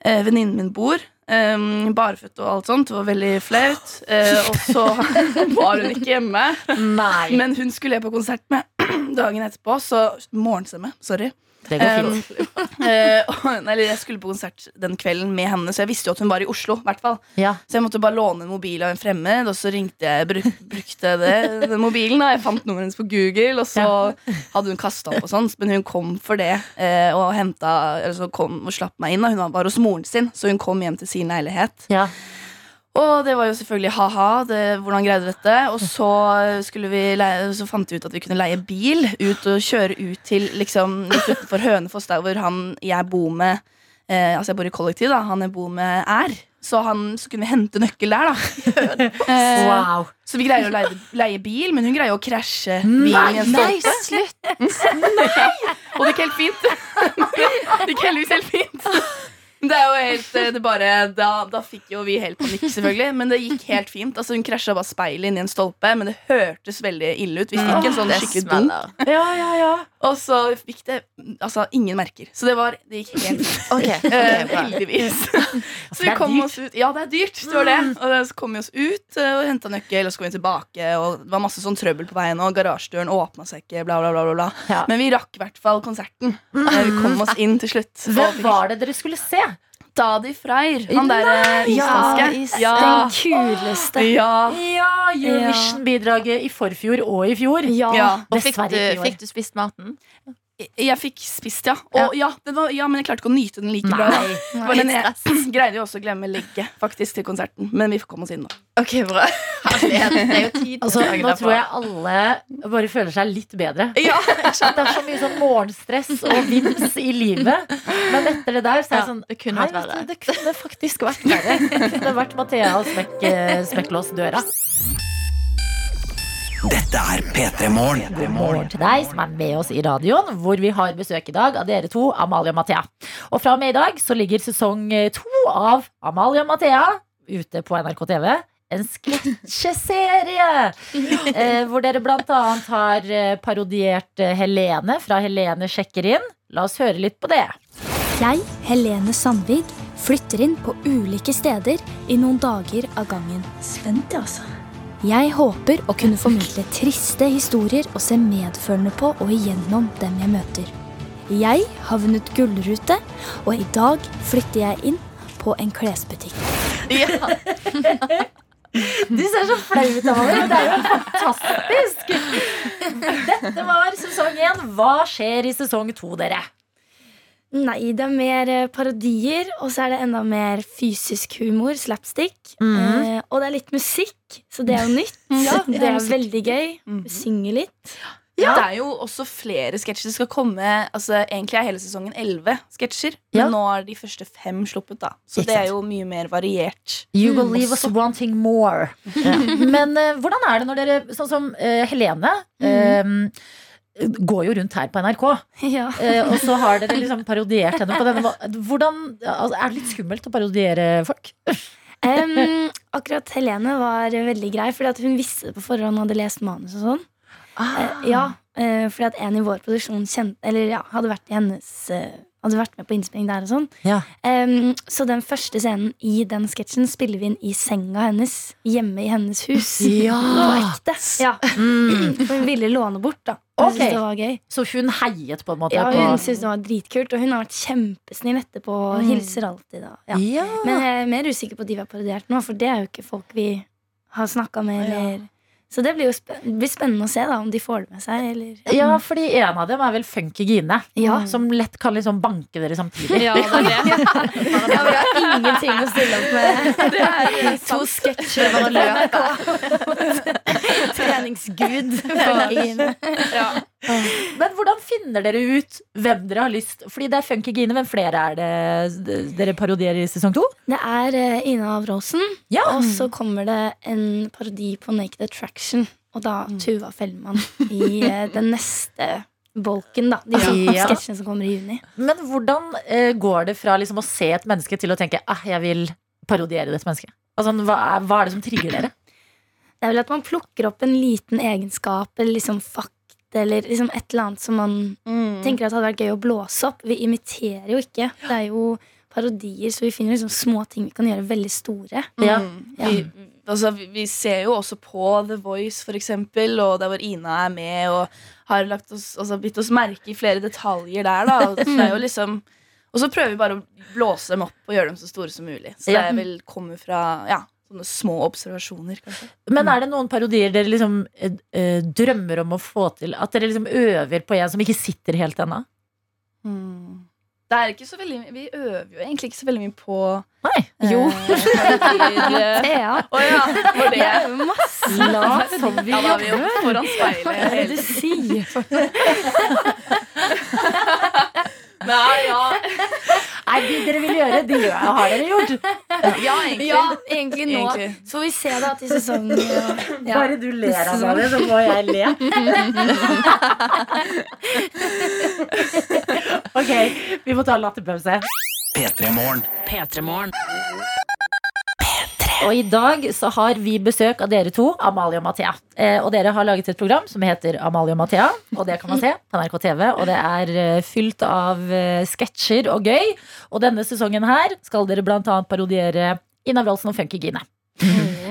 Speaker 9: eh, venninnen min bor. Um, barføtt og alt sånt. Det var veldig flaut. Eh, og så *laughs* var hun ikke hjemme.
Speaker 4: Nei.
Speaker 9: Men hun skulle jeg på konsert med *clears throat* dagen etterpå, så morgenstemme. Sorry.
Speaker 4: Det går fint.
Speaker 9: Um, *laughs* eh, og- eller jeg skulle på konsert den kvelden med henne, så jeg visste jo at hun var i Oslo. i Hvert fall. *laughs*
Speaker 4: Ja.
Speaker 9: Så jeg måtte bare låne en mobil av en fremmed, og så ringte jeg, bruk, brukte jeg det, den mobilen. Da. Jeg fant nummeret hennes på Google, og så hadde hun kasta opp og sånn. Men hun kom for det, eh, og, henta, eller så kom og slapp meg inn. Da. Hun var hos moren sin, så hun kom hjem til sin leilighet.
Speaker 4: Ja.
Speaker 9: Og det var jo selvfølgelig ha-ha. det- Hvordan greide du dette? Og så, skulle vi leie, så fant vi ut at vi kunne leie bil ut og kjøre ut til liksom, litt utenfor Hønefoss, der hvor han jeg bor med eh, Altså jeg bor i kollektiv, da. Han jeg bor med, er. Så, han, så kunne vi hente nøkkel der, da. Eh,
Speaker 4: Wow.
Speaker 9: Så vi greier å leie, leie bil, men hun greier å krasje
Speaker 14: Mm.
Speaker 9: bilen i en stolpe.
Speaker 8: slutt!
Speaker 9: Og det gikk helt fint. *laughs* Det gikk heldigvis helt fint. Men *laughs* Det er jo helt, eh, det bare, da, da fikk jo vi helt panikk, selvfølgelig. Men det gikk helt fint. Altså, hun krasja bare speilet inn i en stolpe, men det hørtes veldig ille ut. Vi fikk en sånn
Speaker 8: Det
Speaker 9: skikkelig dunk.
Speaker 8: smeller.
Speaker 4: Ja, ja, ja.
Speaker 9: Og så fikk det altså, ingen merker. Så det, var, det gikk helt fint.
Speaker 8: Ok, ok,
Speaker 9: Eh,
Speaker 8: bra.
Speaker 9: heldigvis.
Speaker 4: *laughs*
Speaker 9: *laughs* Så
Speaker 4: Altså, det
Speaker 9: vi
Speaker 4: er
Speaker 9: kom
Speaker 4: dyrt. Mm.
Speaker 9: oss ut. Ja, det er dyrt. Det var det. Og da- så kom vi oss ut eh, og henta nøkkel, og så kom vi tilbake. Og det var masse sånn trøbbel på veien, og garasjedøren åpna seg ikke, bla, bla, bla. bla, bla.
Speaker 4: Ja.
Speaker 9: Men vi rakk i hvert fall konserten. Eh, Vi kom oss inn til slutt.
Speaker 4: Hvem var det dere skulle se?
Speaker 9: Dadi Freyr. Han derre
Speaker 14: Ja,
Speaker 9: islandske.
Speaker 14: Den kuleste.
Speaker 9: Ja.
Speaker 4: Ja, Eurovision-bidraget i forfjor og i fjor.
Speaker 9: ja.
Speaker 8: Og fikk
Speaker 4: Dessverre
Speaker 8: du,
Speaker 4: ikke i år.
Speaker 8: fikk du spist maten?
Speaker 9: Jeg fikk spist, ja. Og ja, den var, ja. Men jeg klarte ikke å nyte den like bra. Det var den jeg greide jo også å glemme legget faktisk til konserten. Men vi kom oss inn, da.
Speaker 8: Ok, bra. Herlighet. Det er jo tid
Speaker 4: Altså,
Speaker 8: til å lage
Speaker 4: nå
Speaker 8: det
Speaker 4: tror
Speaker 8: på.
Speaker 4: jeg alle bare føler seg litt bedre.
Speaker 9: Ja,
Speaker 4: At *laughs* det er så mye sånn morgenstress og vims i livet. Men etter det der så er det
Speaker 8: Ja,
Speaker 4: sånn
Speaker 8: det kunne vært
Speaker 4: nei, vet du,
Speaker 8: verre.
Speaker 4: Det kunne faktisk vært *laughs* verre. Det kunne vært Mathea og smekk, eh, Smekklås døra.
Speaker 2: Dette er P3
Speaker 4: God
Speaker 2: Morgen.
Speaker 4: morgen til deg som er med oss i radioen, hvor vi har besøk i dag av dere to, Amalie og Mathea. Og fra og med i dag så ligger sesong eh, to av Amalie og Mathea ute på NRK TV. En sketsjeserie eh, hvor dere blant annet har eh, parodiert eh, Helene fra Helene sjekker inn. La oss høre litt på det.
Speaker 15: Jeg, Helene Sandvig, flytter inn på ulike steder i noen dager av gangen. Spent, altså. Jeg håper å kunne formidle triste historier og se medfølende på og igjennom dem jeg møter. Jeg har vunnet gullrute, og i dag flytter jeg inn på en klesbutikk.
Speaker 4: Du ser så flau ut, Amalie. Det er jo fantastisk. Dette var sesong én. Hva skjer i sesong to, dere?
Speaker 14: Nei, det er mer eh, parodier, og så er det enda mer fysisk humor, slapstick.
Speaker 4: Mhm.
Speaker 14: Eh, og det er litt musikk, så det er jo nytt.
Speaker 9: *laughs* Ja, det
Speaker 14: det,
Speaker 9: er
Speaker 14: er
Speaker 9: musikk. Mhm.
Speaker 14: veldig gøy. Synge
Speaker 9: *laughs*
Speaker 14: litt.
Speaker 9: Det er jo også flere sketsjer. Det skal komme altså, Egentlig er hele sesongen elleve sketsjer.
Speaker 4: Ja.
Speaker 9: Men nå er de første fem sluppet, da. Så
Speaker 4: Ikke
Speaker 9: det er
Speaker 4: sant.
Speaker 9: jo mye mer variert.
Speaker 4: You will
Speaker 9: Mm.
Speaker 4: leave us
Speaker 9: Også-
Speaker 4: wanting more. *laughs* Men eh, hvordan er det når dere, sånn som eh, Helene
Speaker 14: Mm.
Speaker 4: eh, Går jo rundt her på NRK.
Speaker 14: Ja.
Speaker 4: Eh, og så har dere liksom parodiert henne
Speaker 14: *laughs*
Speaker 4: på denne måten. Hvordan, altså, er det litt skummelt å parodiere folk?
Speaker 14: Em, akkurat Helene var veldig grei, fordi at hun visste det på forhånd og hadde lest manus og sånn.
Speaker 9: Ah.
Speaker 14: Eh, ja, eh, fordi at en i vår produksjon kjente, eller, ja, hadde, vært i hennes, eh, hadde vært med på innspilling der og sånn.
Speaker 4: Ja.
Speaker 14: Em, så den første scenen i den sketsjen spiller vi inn i senga hennes, hjemme i hennes hus.
Speaker 4: *laughs* Ja.
Speaker 14: På ekte. Ja. *clears throat*
Speaker 4: Mm.
Speaker 14: Hun ville låne bort, da. Hun syntes
Speaker 4: Ok.
Speaker 14: det var gøy.
Speaker 4: Så hun heiet på en måte?
Speaker 14: Ja,
Speaker 4: på,
Speaker 14: hun syntes det var dritkult, og hun har vært kjempesnill etterpå. Og
Speaker 4: Mm.
Speaker 14: Hilser alltid. Da. Ja.
Speaker 4: Ja.
Speaker 14: Men jeg er mer usikker på de vi har parodiert nå, for det er jo ikke folk vi har snakka med. Eller. Så det blir jo spen det blir spennende å se da, om de får det med seg. Eller.
Speaker 4: Ja, fordi en av dem er vel Funky Gine.
Speaker 14: Ja.
Speaker 4: Som lett kan liksom banke dere samtidig.
Speaker 14: Ja, det er det. Ja, vi har ingenting å stille *laughs* opp med.
Speaker 9: Det er
Speaker 14: to sketsjer bare løp av. *laughs*
Speaker 4: *laughs*
Speaker 14: Treningsgud. Funky
Speaker 9: Ja.
Speaker 4: Men hvordan finner dere ut hvem dere har lyst Fordi det er Funky Gine. Hvem flere er det dere parodierer i sesong to?
Speaker 14: Det er eh, Ina Avråsen, og så kommer det en parodi på Naked Attraction. Og da Tuva Fellmann i eh, den neste bolken, da. De som-
Speaker 4: Ja.
Speaker 14: sketsjene som kommer i juni.
Speaker 4: Men hvordan eh, går det fra liksom å se et menneske til å tenke ah, jeg vil parodiere dette mennesket? Altså, hva, er, hva er det som trigger dere?
Speaker 14: Det er vel at man plukker opp en liten egenskap eller liksom fakta eller liksom et eller annet som man
Speaker 9: Mm.
Speaker 14: tenker at hadde vært gøy å blåse opp. Vi imiterer jo ikke. Det er jo parodier, så vi finner liksom små ting vi kan gjøre veldig store.
Speaker 9: Mm. Vi, altså, vi vi ser jo også på The Voice, for eksempel, og der hvor Ina er med og har lagt oss, altså, bitt oss merke i flere detaljer der. Da. Og, det er jo liksom, og så prøver vi bare å blåse dem opp og gjøre dem så store som mulig. Så det
Speaker 4: Ja.
Speaker 9: er vel kommer fra ja, *clears throat* sånne små observasjoner, kanskje.
Speaker 4: Men
Speaker 14: Mm.
Speaker 4: er det noen parodier dere liksom eh, eh, drømmer om å få til? At dere liksom øver på en som ikke sitter helt ennå?
Speaker 9: Det er ikke så veldig, vi øver jo egentlig ikke så veldig mye på eh,
Speaker 4: Nei.
Speaker 9: *laughs* Jo.
Speaker 14: Thea.
Speaker 9: Å ja, var det
Speaker 14: Jeg øver masse.
Speaker 9: La som vi Ja, da er vi jo jobber. foran speilet
Speaker 14: Hva er det
Speaker 9: hele
Speaker 14: du sier?
Speaker 9: Nei, ja.
Speaker 4: Nei, det dere vil gjøre, det gjør jeg. Har dere gjort?
Speaker 9: *laughs* Ja, egentlig.
Speaker 14: Ja, egentlig nå.
Speaker 9: Egentlig.
Speaker 14: Så får vi se da til
Speaker 9: *laughs*
Speaker 14: sesongen. Ja.
Speaker 4: Bare du ler av det, så må jeg le. *laughs* ok, vi må ta en latterpause.
Speaker 2: P3 Morgen.
Speaker 4: Og i dag så har vi besøk av dere to, Amalie og Mathea. Eh, og dere har laget et program som heter Amalie og Mathea. Og det kan man se på NRK TV. Og det er eh, fylt av eh, sketsjer og gøy. Og denne sesongen her skal dere bl.a. parodiere Ina Wroldsen og Funky Gine.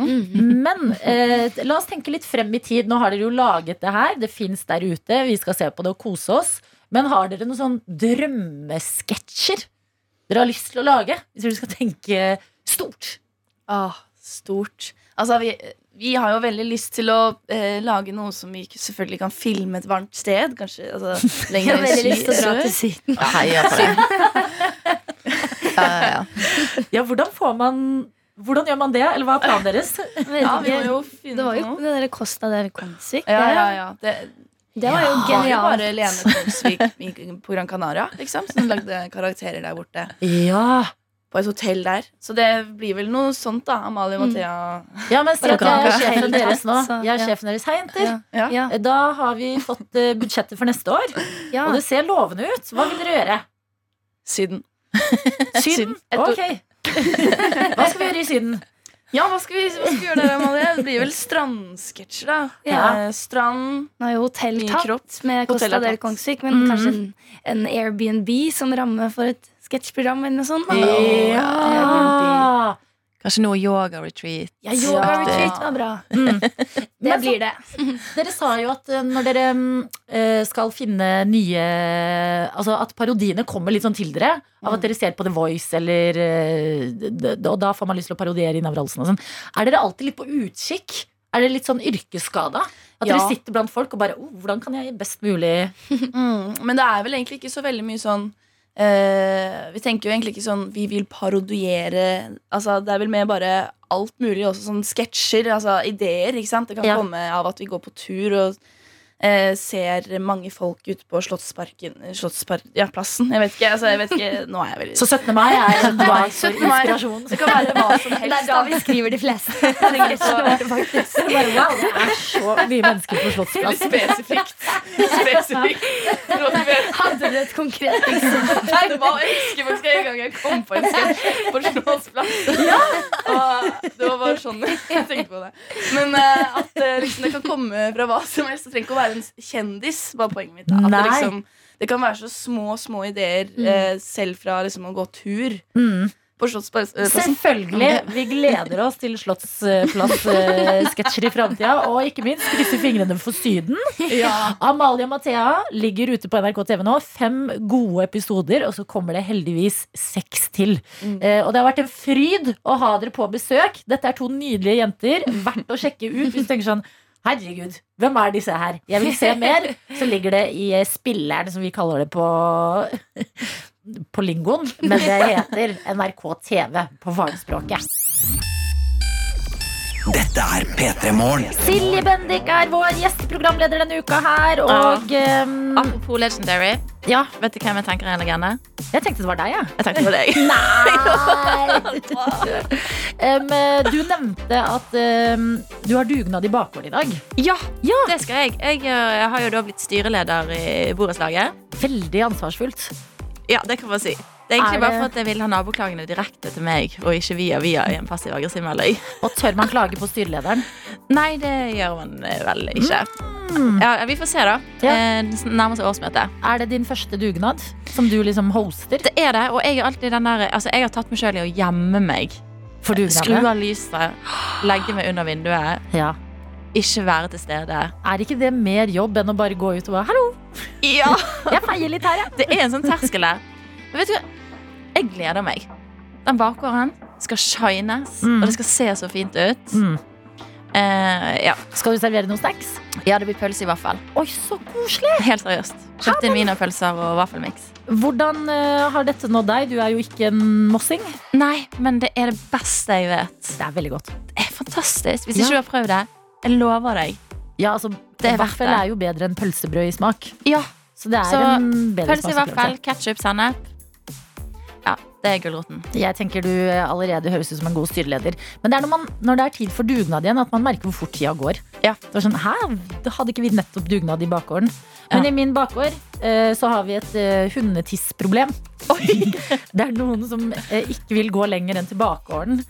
Speaker 4: Men eh, la oss tenke litt frem i tid. Nå har dere jo laget det her. Det fins der ute. Vi skal se på det og kose oss. Men har dere noen sånn drømmesketsjer dere har lyst til å lage? Hvis dere skal tenke stort.
Speaker 9: Ah, stort. Altså, vi, vi har jo veldig lyst til å eh, lage noe som vi ikke- selvfølgelig kan filme et varmt sted. Kanskje *laughs* altså, lenger
Speaker 14: Jeg har veldig
Speaker 9: syd-
Speaker 14: lyst til å dra
Speaker 9: sør.
Speaker 14: til Syden.
Speaker 9: Ja, heia på deg.
Speaker 4: *laughs* Ja, hvordan får man Hvordan gjør man det? Eller hva er planen deres?
Speaker 9: *laughs* Ja, vi må jo finne
Speaker 14: det var jo
Speaker 9: på noe.
Speaker 14: det der Costa del Consvik.
Speaker 9: Ja, ja, ja. Det,
Speaker 14: Det var jo
Speaker 9: Ja,
Speaker 14: genialt.
Speaker 9: *laughs* Det var jo bare Lene Konsvik i- på Gran Canaria, liksom, som lagde karakterer der borte.
Speaker 4: Ja.
Speaker 9: på et hotell der. Så det blir vel noe sånt, da. Amalie og
Speaker 4: Mm.
Speaker 9: Mathea.
Speaker 4: Ja, men si at jeg er sjefen deres nå.
Speaker 9: Så,
Speaker 4: Jeg er
Speaker 9: ja.
Speaker 4: sjefen deres. Hei, jenter. Eh,
Speaker 9: Ja.
Speaker 4: Da har vi fått eh, budsjettet for neste år,
Speaker 9: Ja.
Speaker 4: og det ser lovende ut. Hva vil dere gjøre?
Speaker 9: Syden.
Speaker 4: *laughs* Syden?
Speaker 9: Et
Speaker 4: Ok.
Speaker 9: år.
Speaker 4: Hva skal vi gjøre i Syden?
Speaker 9: Ja, hva skal vi, hva skal vi gjøre der, Amalie? Det blir vel strandsketsjer, da.
Speaker 14: Ja.
Speaker 9: Eh, Strand
Speaker 14: Nå er jo hotell
Speaker 9: Mye kropp.
Speaker 14: tatt med
Speaker 9: Hotell er
Speaker 14: Costa del
Speaker 9: tatt.
Speaker 14: Kongsvik, men
Speaker 9: Mhm.
Speaker 14: kanskje en, en Airbnb som ramme for et sketsjprogram eller noe sånt. da.
Speaker 4: Ja.
Speaker 8: Kanskje noe yoga-retreat.
Speaker 14: Ja, yoga retreat var bra. Det blir det.
Speaker 4: *laughs* Dere sa jo at eh, når dere mm, eh, skal finne nye Altså at parodiene kommer litt sånn til dere. Av at dere ser på The Voice eller eh, d- d- Og da får man lyst til å parodiere Inav Rolsen og sånn. Er dere alltid litt på utkikk? Er dere litt sånn yrkesskada? At
Speaker 9: Ja.
Speaker 4: dere sitter blant folk og bare oh, 'Hvordan kan jeg best mulig
Speaker 9: Mm, men det er vel egentlig ikke så veldig mye sånn eh, Vi tenker jo egentlig ikke sånn Vi vil parodiere Altså Det er vel mer bare alt mulig, også sånn sketsjer, altså ideer. ikke sant? Det kan
Speaker 14: Ja.
Speaker 9: komme av at vi går på tur og eh, ser mange folk ute på Slottsparken Slottspark... Ja, plassen. Jeg vet ikke. altså jeg vet ikke, Nå er jeg veldig
Speaker 4: Så 17. mai er
Speaker 9: *laughs*
Speaker 4: en dag for
Speaker 9: 17. mai.
Speaker 4: inspirasjon.
Speaker 9: Det kan være hva som helst.
Speaker 14: Det er da vi skriver de fleste. *laughs*
Speaker 4: *laughs* Så bare, wow, det er så mye mennesker på Slottsplassen.
Speaker 9: Spesifikt.
Speaker 4: *laughs*
Speaker 9: Spesifikt.
Speaker 14: Hadde du et konkret eksempel?
Speaker 9: Nei, *laughs* det var, jeg husker faktisk en gang jeg kom på en sketsj på Slottsplassen. Og det var bare sånn jeg tenkte på det. Men eh, at eh, liksom, det kan komme fra hva som helst. Det trenger ikke å være en kjendis. var poenget mitt. Da. At det,
Speaker 4: Nei.
Speaker 9: liksom, det kan være så små, små ideer
Speaker 4: Mm.
Speaker 9: eh, selv fra liksom, å gå tur
Speaker 4: Mm.
Speaker 9: på Slottsplassen.
Speaker 4: Selvfølgelig. Vi gleder oss til eh, Slottsplass-sketsjer
Speaker 6: *laughs*
Speaker 4: i framtida. Og ikke minst krysser fingrene for Syden.
Speaker 9: Ja.
Speaker 4: Amalie og Mathea ligger ute på NRK TV nå. Fem gode episoder, og så kommer det heldigvis seks til. Eh, og det har vært en fryd å ha dere på besøk. Dette er to nydelige jenter. Verdt å sjekke ut hvis du tenker sånn Herregud, hvem er disse her? Jeg vil se mer. Så ligger det i eh, spilleren, som vi kaller det på på lingoen, men det heter NRK TV på fagspråket.
Speaker 2: Dette er P3 Morgen.
Speaker 4: Silje Bendik er vår gjesteprogramleder denne uka her, og ehm,
Speaker 8: Apropos legendary.
Speaker 4: Ja,
Speaker 8: Vet du hvem jeg tenker er en legende?
Speaker 4: jeg tenkte det var deg, jeg.
Speaker 8: Jeg tenkte på deg. *laughs*
Speaker 4: *laughs* Nei! Em, eh, du nevnte at em, du har dugnad i bakgården i dag.
Speaker 8: Ja, det skal jeg. jeg. eh, har jo da blitt styreleder i borettslaget.
Speaker 4: Veldig ansvarsfullt.
Speaker 8: Ja, det kan man si. Det er egentlig
Speaker 4: Er
Speaker 8: bare
Speaker 4: det-
Speaker 8: for at jeg vil ha naboklagene direkte til meg, og ikke via via i en passiv aggressiv melding.
Speaker 4: Og tør man klage på styrelederen?
Speaker 8: Nei, det gjør man eh, vel ikke. Ja, vi får se, da. Eh, det Nærmer seg årsmøtet.
Speaker 4: Mm. Er det din første dugnad som du liksom hoster?
Speaker 8: Det er det, og jeg, er alltid den der, altså, jeg har tatt meg sjøl i å gjemme meg.
Speaker 4: For dugnader?
Speaker 8: Skru av lyset, legge meg under vinduet,
Speaker 4: Ja.
Speaker 8: ikke være til stede.
Speaker 4: Er ikke det mer jobb enn å bare gå ut og bare 'hallo'?
Speaker 8: Ja,
Speaker 4: *laughs* Jeg feier litt her, ja.
Speaker 8: Det er en sånn terskel der. Men vet du hva? Jeg gleder meg. Den bakgården skal shines,
Speaker 4: Mm.
Speaker 8: og det skal se så fint ut.
Speaker 4: Mm.
Speaker 8: Eh, ja.
Speaker 4: Skal du servere noen snacks?
Speaker 8: ja, det blir pølse i vaffel.
Speaker 4: Oi, så koselig!
Speaker 8: Helt seriøst. Kjøpte inn wienerpølser og vaffelmiks.
Speaker 4: Hvordan eh, har dette nådd deg? Du er jo ikke en mossing.
Speaker 8: Nei, men det er det beste jeg vet.
Speaker 4: Det er veldig godt.
Speaker 8: Det er fantastisk. Hvis
Speaker 4: Ja.
Speaker 8: ikke du har prøvd det, jeg lover deg.
Speaker 4: Ja, altså,
Speaker 8: Det er verdt
Speaker 4: Vaffel
Speaker 8: det.
Speaker 4: er jo bedre enn pølsebrød i smak.
Speaker 8: Ja.
Speaker 4: Så det er
Speaker 8: Så
Speaker 4: en bedre
Speaker 8: pølse i vaffel,
Speaker 4: smaksopplevelse.
Speaker 8: ketsjup, sennep. Ja, det er gulroten.
Speaker 4: Jeg tenker du eh, allerede høres ut som en god styreleder. Men det er når, man, når det er tid for dugnad igjen, at man merker hvor fort tida går.
Speaker 8: Ja.
Speaker 4: Det var sånn, Hæ, Da hadde ikke vi nettopp dugnad i bakgården? Men i min bakgård eh, så har vi et eh, hundetissproblem. *laughs* det er noen som eh, ikke vil gå lenger enn til bakgården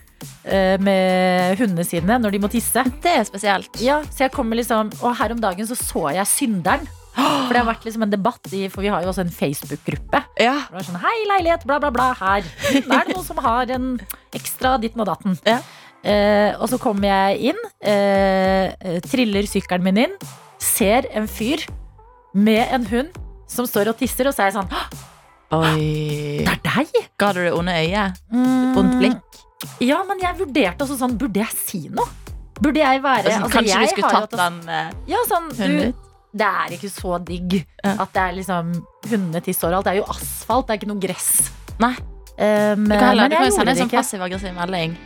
Speaker 4: eh, med hundene sine når de må tisse.
Speaker 8: Det er spesielt.
Speaker 4: Ja, så jeg kommer liksom Og her om dagen så så jeg
Speaker 8: *gasps*
Speaker 4: synderen For det har vært liksom en debatt i For vi har jo også en Facebook-gruppe
Speaker 8: Ja.
Speaker 4: Hvor det er sånn, hei leilighet, bla bla bla
Speaker 8: *laughs*
Speaker 4: Her er det noen som har en ekstra ditt og datten eh, Og så kommer jeg inn eh, eh, Triller sykkelen min inn Ser en fyr Med en hund Som står og tisser Og så er jeg sånn, *gasps* «Hå,
Speaker 8: Oi.
Speaker 16: Ah,
Speaker 4: det er deg
Speaker 8: Ga du det onde øyet?
Speaker 16: Mm.
Speaker 8: Ondt blikk?
Speaker 4: Ja, men jeg vurderte også sånn Burde jeg si noe? Burde jeg være
Speaker 8: Altså,
Speaker 4: altså,
Speaker 8: kanskje
Speaker 4: jeg
Speaker 8: du skulle
Speaker 4: har jo
Speaker 8: tatt den eh,
Speaker 4: Ja, sånn,
Speaker 8: Hunden
Speaker 4: du, det er ikke så digg at det er liksom hundetiss og alt. Det er jo asfalt, det er ikke noe gress.
Speaker 8: Nei.
Speaker 4: Um,
Speaker 8: Du kan, heller,
Speaker 4: men
Speaker 8: du kan jo sende
Speaker 4: jeg gjorde
Speaker 8: en
Speaker 4: det
Speaker 8: sånn
Speaker 4: ikke.
Speaker 8: passiv-aggressiv melding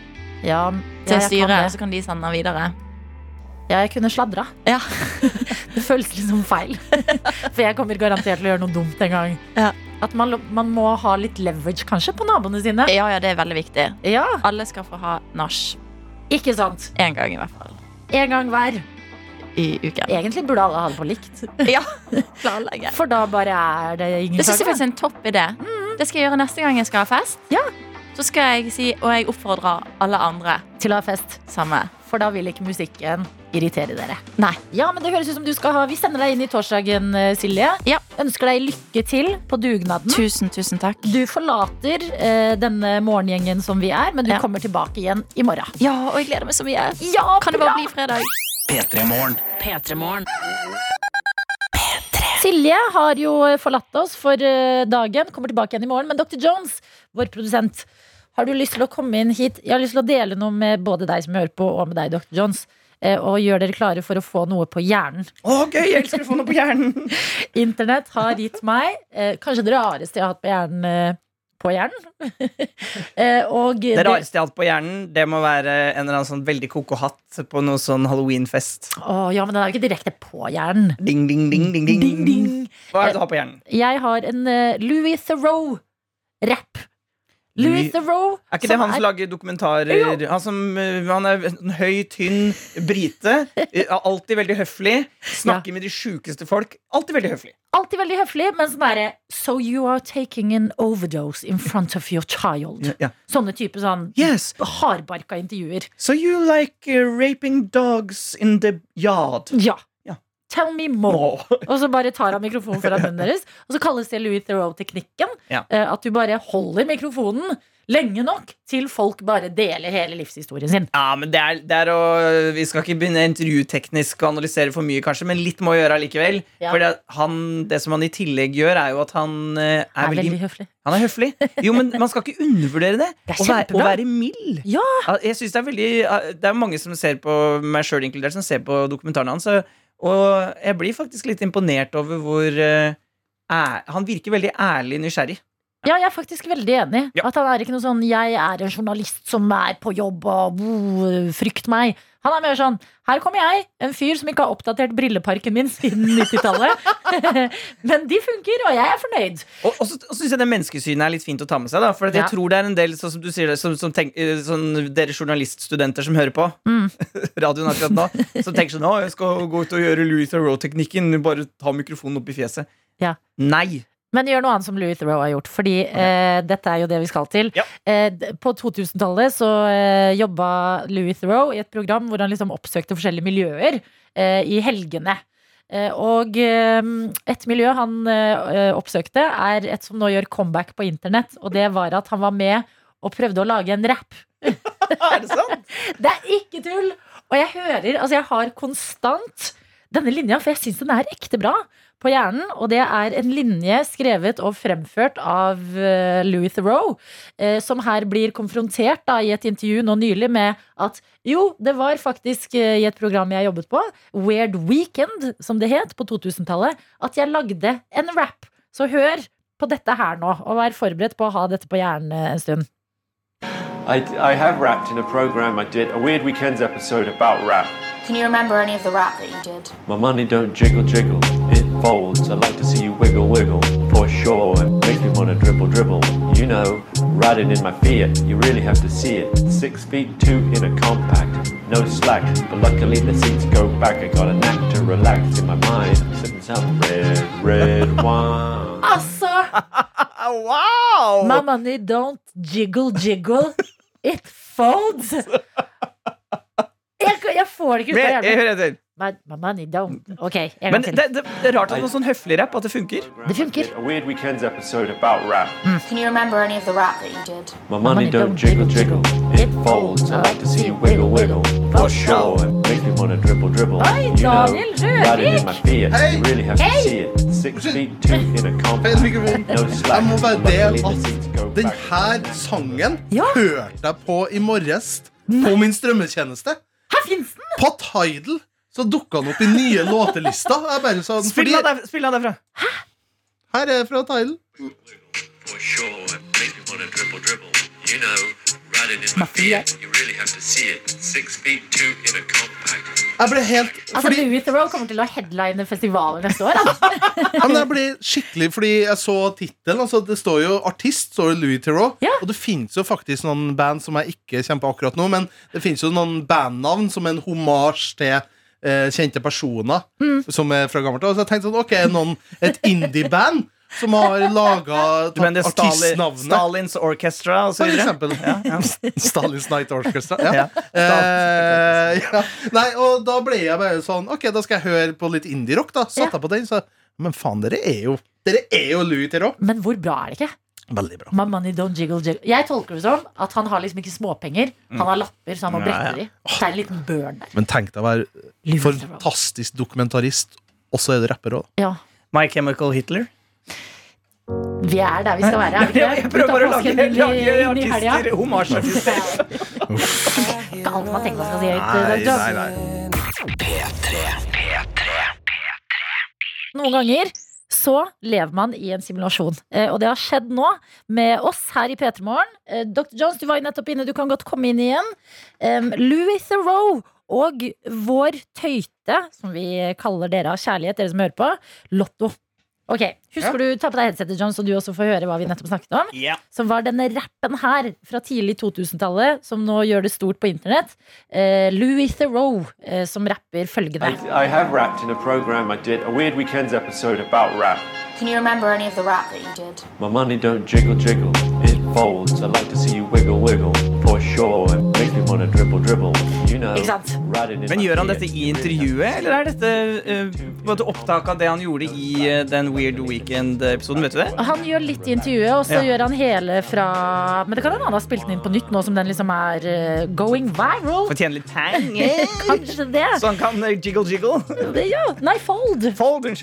Speaker 4: Ja,
Speaker 8: til
Speaker 4: ja, jeg,
Speaker 8: styret,
Speaker 4: kan
Speaker 8: så
Speaker 4: det.
Speaker 8: kan de sende den videre.
Speaker 4: ja, jeg kunne sladra. *laughs*
Speaker 8: Ja. *laughs*
Speaker 4: det føles liksom feil. For jeg kommer garantert til å gjøre noe dumt en gang. At man, lo- man må ha litt leverage kanskje på naboene sine.
Speaker 8: Ja, ja, det er veldig viktig.
Speaker 4: Alle
Speaker 8: skal få ha nach.
Speaker 4: Ikke sant?
Speaker 8: En gang, i hvert fall.
Speaker 4: En gang hver.
Speaker 8: I uken.
Speaker 4: Egentlig burde alle ha det på likt.
Speaker 8: *laughs* Ja,
Speaker 4: For da bare er det ingen Mhm.
Speaker 8: Det synes jeg
Speaker 4: klager.
Speaker 8: faktisk er en topp idé. Det skal jeg gjøre neste gang jeg skal ha fest. Så skal jeg si, og jeg oppfordrer alle andre
Speaker 4: til å ha fest.
Speaker 8: Samme.
Speaker 4: For da vil ikke musikken
Speaker 8: eh,
Speaker 4: irritere dere.
Speaker 8: Nei.
Speaker 4: Ja, men det høres ut som du skal ha Vi sender deg inn i torsdagen, eh, Silje. Ønsker deg lykke til på dugnaden.
Speaker 8: Tusen, tusen takk.
Speaker 4: Du forlater eh, denne morgengjengen som vi er, men du kommer tilbake igjen i morgen.
Speaker 8: Ja, og jeg gleder meg så mye. kan det bare bli fredag?
Speaker 3: P3morgen.
Speaker 4: Silje har jo forlatt oss for eh, dagen, kommer tilbake igjen i morgen. Men Dr. Jones, vår produsent, har du lyst til å komme inn hit? Jeg har lyst til å dele noe med både deg som hører på, og med deg, Dr. Jones. eh, Og gjøre dere klare for å få noe på hjernen.
Speaker 5: Å, gøy! Jeg elsker å få noe på hjernen.
Speaker 4: *laughs* Internett har gitt meg eh, kanskje det rareste jeg har hatt på hjernen. eh, På hjernen. *laughs* Eh, og
Speaker 5: Det rareste jeg har hatt på hjernen, det må være en eller annen sånn veldig koko hatt på noe sånn halloweenfest.
Speaker 4: Å, ja, men den er jo ikke direkte på hjernen.
Speaker 5: Ding, ding, ding, ding, ding. Hva er det du har på hjernen?
Speaker 4: Jeg har en eh, Louis Theroux-rapp. Louis
Speaker 5: Louis-
Speaker 4: Theroux.
Speaker 5: Er ikke det han som
Speaker 4: er-
Speaker 5: lager dokumentarer? Han, som, eh, han er en høy, tynn brite. eh, er Alltid veldig høflig. Snakker med de sjukeste folk. Alltid veldig høflig.
Speaker 4: Alltid veldig høflig, men sånn derre So you are taking an overdose in front of your child. Sånne type sånn hardbarka intervjuer.
Speaker 5: So you like uh, raping dogs in the yard?
Speaker 4: Ja. Tell me more. og så bare tar han mikrofonen foran munnen deres. Og så kalles det Louis Theroux-teknikken.
Speaker 5: Ja.
Speaker 4: eh, At du bare holder mikrofonen lenge nok til folk bare deler hele livshistorien sin.
Speaker 5: Ja, men det er, det er å, Vi skal ikke begynne intervjuteknisk og analysere for mye, kanskje, men litt må gjøre allikevel.
Speaker 4: Ja.
Speaker 5: For det, han, det som han i tillegg gjør, er jo at han eh, er,
Speaker 4: Er veldig høflig.
Speaker 5: Han er høflig. Jo, men man skal ikke undervurdere det.
Speaker 4: Det er
Speaker 5: Å være, å
Speaker 4: kjempebra.
Speaker 5: være mild.
Speaker 4: Ja.
Speaker 5: Jeg synes det er veldig Det er mange som ser på meg sjøl inkludert, som ser på dokumentaren hans, og- og jeg blir faktisk litt imponert over hvor eh, ær, Han virker veldig ærlig nysgjerrig.
Speaker 4: Ja, jeg er faktisk veldig enig. At han er ikke noe sånn 'jeg er en journalist som er på jobb og oh, frykt meg'. Han er mer sånn 'her kommer jeg, en fyr som ikke har oppdatert brilleparken min siden 90-tallet'. *laughs* Men de funker, og jeg er fornøyd.
Speaker 5: Og, og så, og så syns jeg det menneskesynet er litt fint å ta med seg. da For at jeg
Speaker 4: Ja.
Speaker 5: tror det er en del sånn som du sier det, som, som tenk, eh, sånn, dere journaliststudenter som hører på *laughs*
Speaker 4: Mm.
Speaker 5: radioen akkurat nå, som tenker sånn 'Å, jeg skal gå ut og gjøre Louis Theroux-teknikken. Bare ta mikrofonen opp i fjeset'.
Speaker 4: Ja.
Speaker 5: Nei!
Speaker 4: Men gjør noe annet som Louis Theroux har gjort, fordi eh, dette er jo det vi skal til. Eh, d- på 2000-tallet så eh, jobba Louis Theroux i et program hvor han liksom oppsøkte forskjellige miljøer eh, i helgene. Eh, og eh, et miljø han eh, oppsøkte, er et som nå gjør comeback på internett, og det var at han var med og prøvde å lage en rapp. Det er ikke tull! Og jeg hører, altså jeg har konstant denne linja, for jeg syns den er ekte bra på hjernen. Og det er en linje skrevet og fremført av eh, Louis Theroux, eh, som her blir konfrontert da, i et intervju nå nylig med at jo, det var faktisk eh, i et program jeg jobbet på, Weird Weekend, som det het på 2000-tallet, at jeg lagde en rap. Så hør på dette her nå, og vær forberedt på å ha dette på hjernen eh, en stund.
Speaker 17: *laughs* I, I have rapped in a program I did, a Weird Weekends episode about rap.
Speaker 16: Can you remember any of the rap that you did?
Speaker 17: My money don't jiggle jiggle, it folds. I like to see you wiggle wiggle, for sure. It makes me wanna dribble dribble. You know, riding in my Fiat, you really have to see it. Six feet two in a compact, no slack. But luckily the seats go back. I got a knack to relax in my mind. Sipping some red,
Speaker 4: *laughs*
Speaker 17: red wine.
Speaker 4: Altså!
Speaker 5: *laughs* wow!
Speaker 4: My money don't jiggle jiggle. It folds. Jeg, jeg får det ikke ut
Speaker 5: Men
Speaker 4: av
Speaker 5: jeg, jeg hører
Speaker 4: hjernen.
Speaker 5: etter.
Speaker 4: My, my money don't Ok, en gang
Speaker 5: Men
Speaker 4: til.
Speaker 5: det, det, det er rart at noe sånn høflig rapp at det funker.
Speaker 4: Det funker.
Speaker 17: A Weird Weekends episode about rap.
Speaker 4: Mm.
Speaker 16: Can you remember any of the rap that you did?
Speaker 17: My money don't jiggle jiggle, it folds. I like to see you wiggle wiggle, for sure. It makes me wanna dribble dribble.
Speaker 16: Hey,
Speaker 17: You know,
Speaker 16: Daniel, Rubik.
Speaker 17: riding in my Fiat, you really have to
Speaker 6: Hey.
Speaker 17: see it. Six feet two in a compact, no slack.
Speaker 6: Jeg må bare
Speaker 17: Luckily
Speaker 6: dele
Speaker 17: the
Speaker 6: at
Speaker 17: seats go
Speaker 6: den
Speaker 17: back.
Speaker 6: her sangen hørte jeg på i morges på min strømmetjeneste.
Speaker 4: Her fins den!
Speaker 6: På Tidal så dukka den opp i nye låtelister. Jeg bare sa den
Speaker 5: Spill den der- den derfra.
Speaker 6: Her er fra Tidal.
Speaker 17: For sure, it makes me wanna dribble dribble. You know, Riding in my fear, you really have to see it. Six feet two in a compact.
Speaker 6: Jeg ble helt
Speaker 4: Altså, Louis Theroux kommer til å headline festivaler neste år. altså.
Speaker 5: *laughs*
Speaker 4: da.
Speaker 6: Ja, men jeg ble skikkelig Fordi jeg så tittelen. Altså, det står jo artist, står det Louis Theroux. Og det fins jo faktisk noen band som jeg ikke kommer på akkurat nå, men det fins jo noen bandnavn som en homasj til eh, kjente personer som er fra gammelt av. Så jeg tenkte sånn, ok, noen, et indie-band som har laga
Speaker 5: Du mener Stali-
Speaker 6: Stalins Orchestra
Speaker 5: så videre?
Speaker 6: For eksempel.
Speaker 5: *laughs*
Speaker 6: Stalins Night Orchestra. Ja.
Speaker 5: Ja.
Speaker 6: Eh, ja. Nei, og da ble jeg bare sånn Ok, da skal jeg høre på litt indie-rock, da. Satt jeg på den, så Men faen, dere er jo Dere er jo Louis Theroux.
Speaker 4: Men hvor bra er det ikke?
Speaker 6: Veldig bra.
Speaker 4: My money don't jiggle jiggle Jeg tolker det som at han har liksom ikke småpenger.
Speaker 5: Mm.
Speaker 4: Han har lapper, så han må
Speaker 6: Ja, ja.
Speaker 4: brette det i. Så er det en liten børn der.
Speaker 6: Men tenk deg å være fantastisk dokumentarist, og så er du rapper òg.
Speaker 4: Ja.
Speaker 5: My Chemical Hitler.
Speaker 4: Vi er der vi skal være.
Speaker 5: *laughs*
Speaker 4: Er vi ikke det?
Speaker 5: Jeg prøver bare å
Speaker 4: Ut av
Speaker 5: lage,
Speaker 4: påsken, inn i-
Speaker 5: lage
Speaker 4: inn i helga.
Speaker 5: artister,
Speaker 4: *laughs*
Speaker 5: homasjartister.
Speaker 4: Det er ikke alt man tenker man skal si høyt.
Speaker 5: Nei,
Speaker 4: Douglas.
Speaker 5: nei, nei.
Speaker 4: Noen ganger så lever man i en simulasjon. Eh, og det har skjedd nå med oss her i P3 Morgen. Eh, Dr. Jones, du var jo nettopp inne, du kan godt komme inn igjen. Em, Louis Theroux og vår tøyte, som vi kaller dere av kjærlighet, dere som hører på, Lotto. Ok, Husker du ta på deg headsetet, John, så du også får høre hva vi nettopp snakket om? Så var denne rappen her fra tidlig 2000-tallet, som nå gjør det stort på internett, eh, Louis Theroux, eh, som rapper følgende.
Speaker 17: I, I have rapped in a program I did, a Weird Weekends episode about rap.
Speaker 16: Can you remember any of the rap that you did?
Speaker 17: My money don't jiggle jiggle, it folds. I like to see you wiggle wiggle, for sure. It makes me wanna dribble dribble, you know.
Speaker 5: Ikke sant?
Speaker 17: Riding in
Speaker 5: Men
Speaker 17: my
Speaker 5: gjør han
Speaker 17: fear.
Speaker 5: dette i intervjuet, eller er dette eh, på en måte opptak av det han gjorde i eh, den Weird Weekend-episoden? Vet du det?
Speaker 4: Han gjør litt i intervjuet, og så
Speaker 5: Ja.
Speaker 4: gjør han hele fra Men det kan hende han har spilt den inn på nytt nå som den liksom er eh, going viral.
Speaker 5: Fortjener litt penger.
Speaker 4: *laughs* Kanskje det.
Speaker 5: *laughs* Så han kan eh, jiggle jiggle.
Speaker 4: Det, ja. Nei, fold.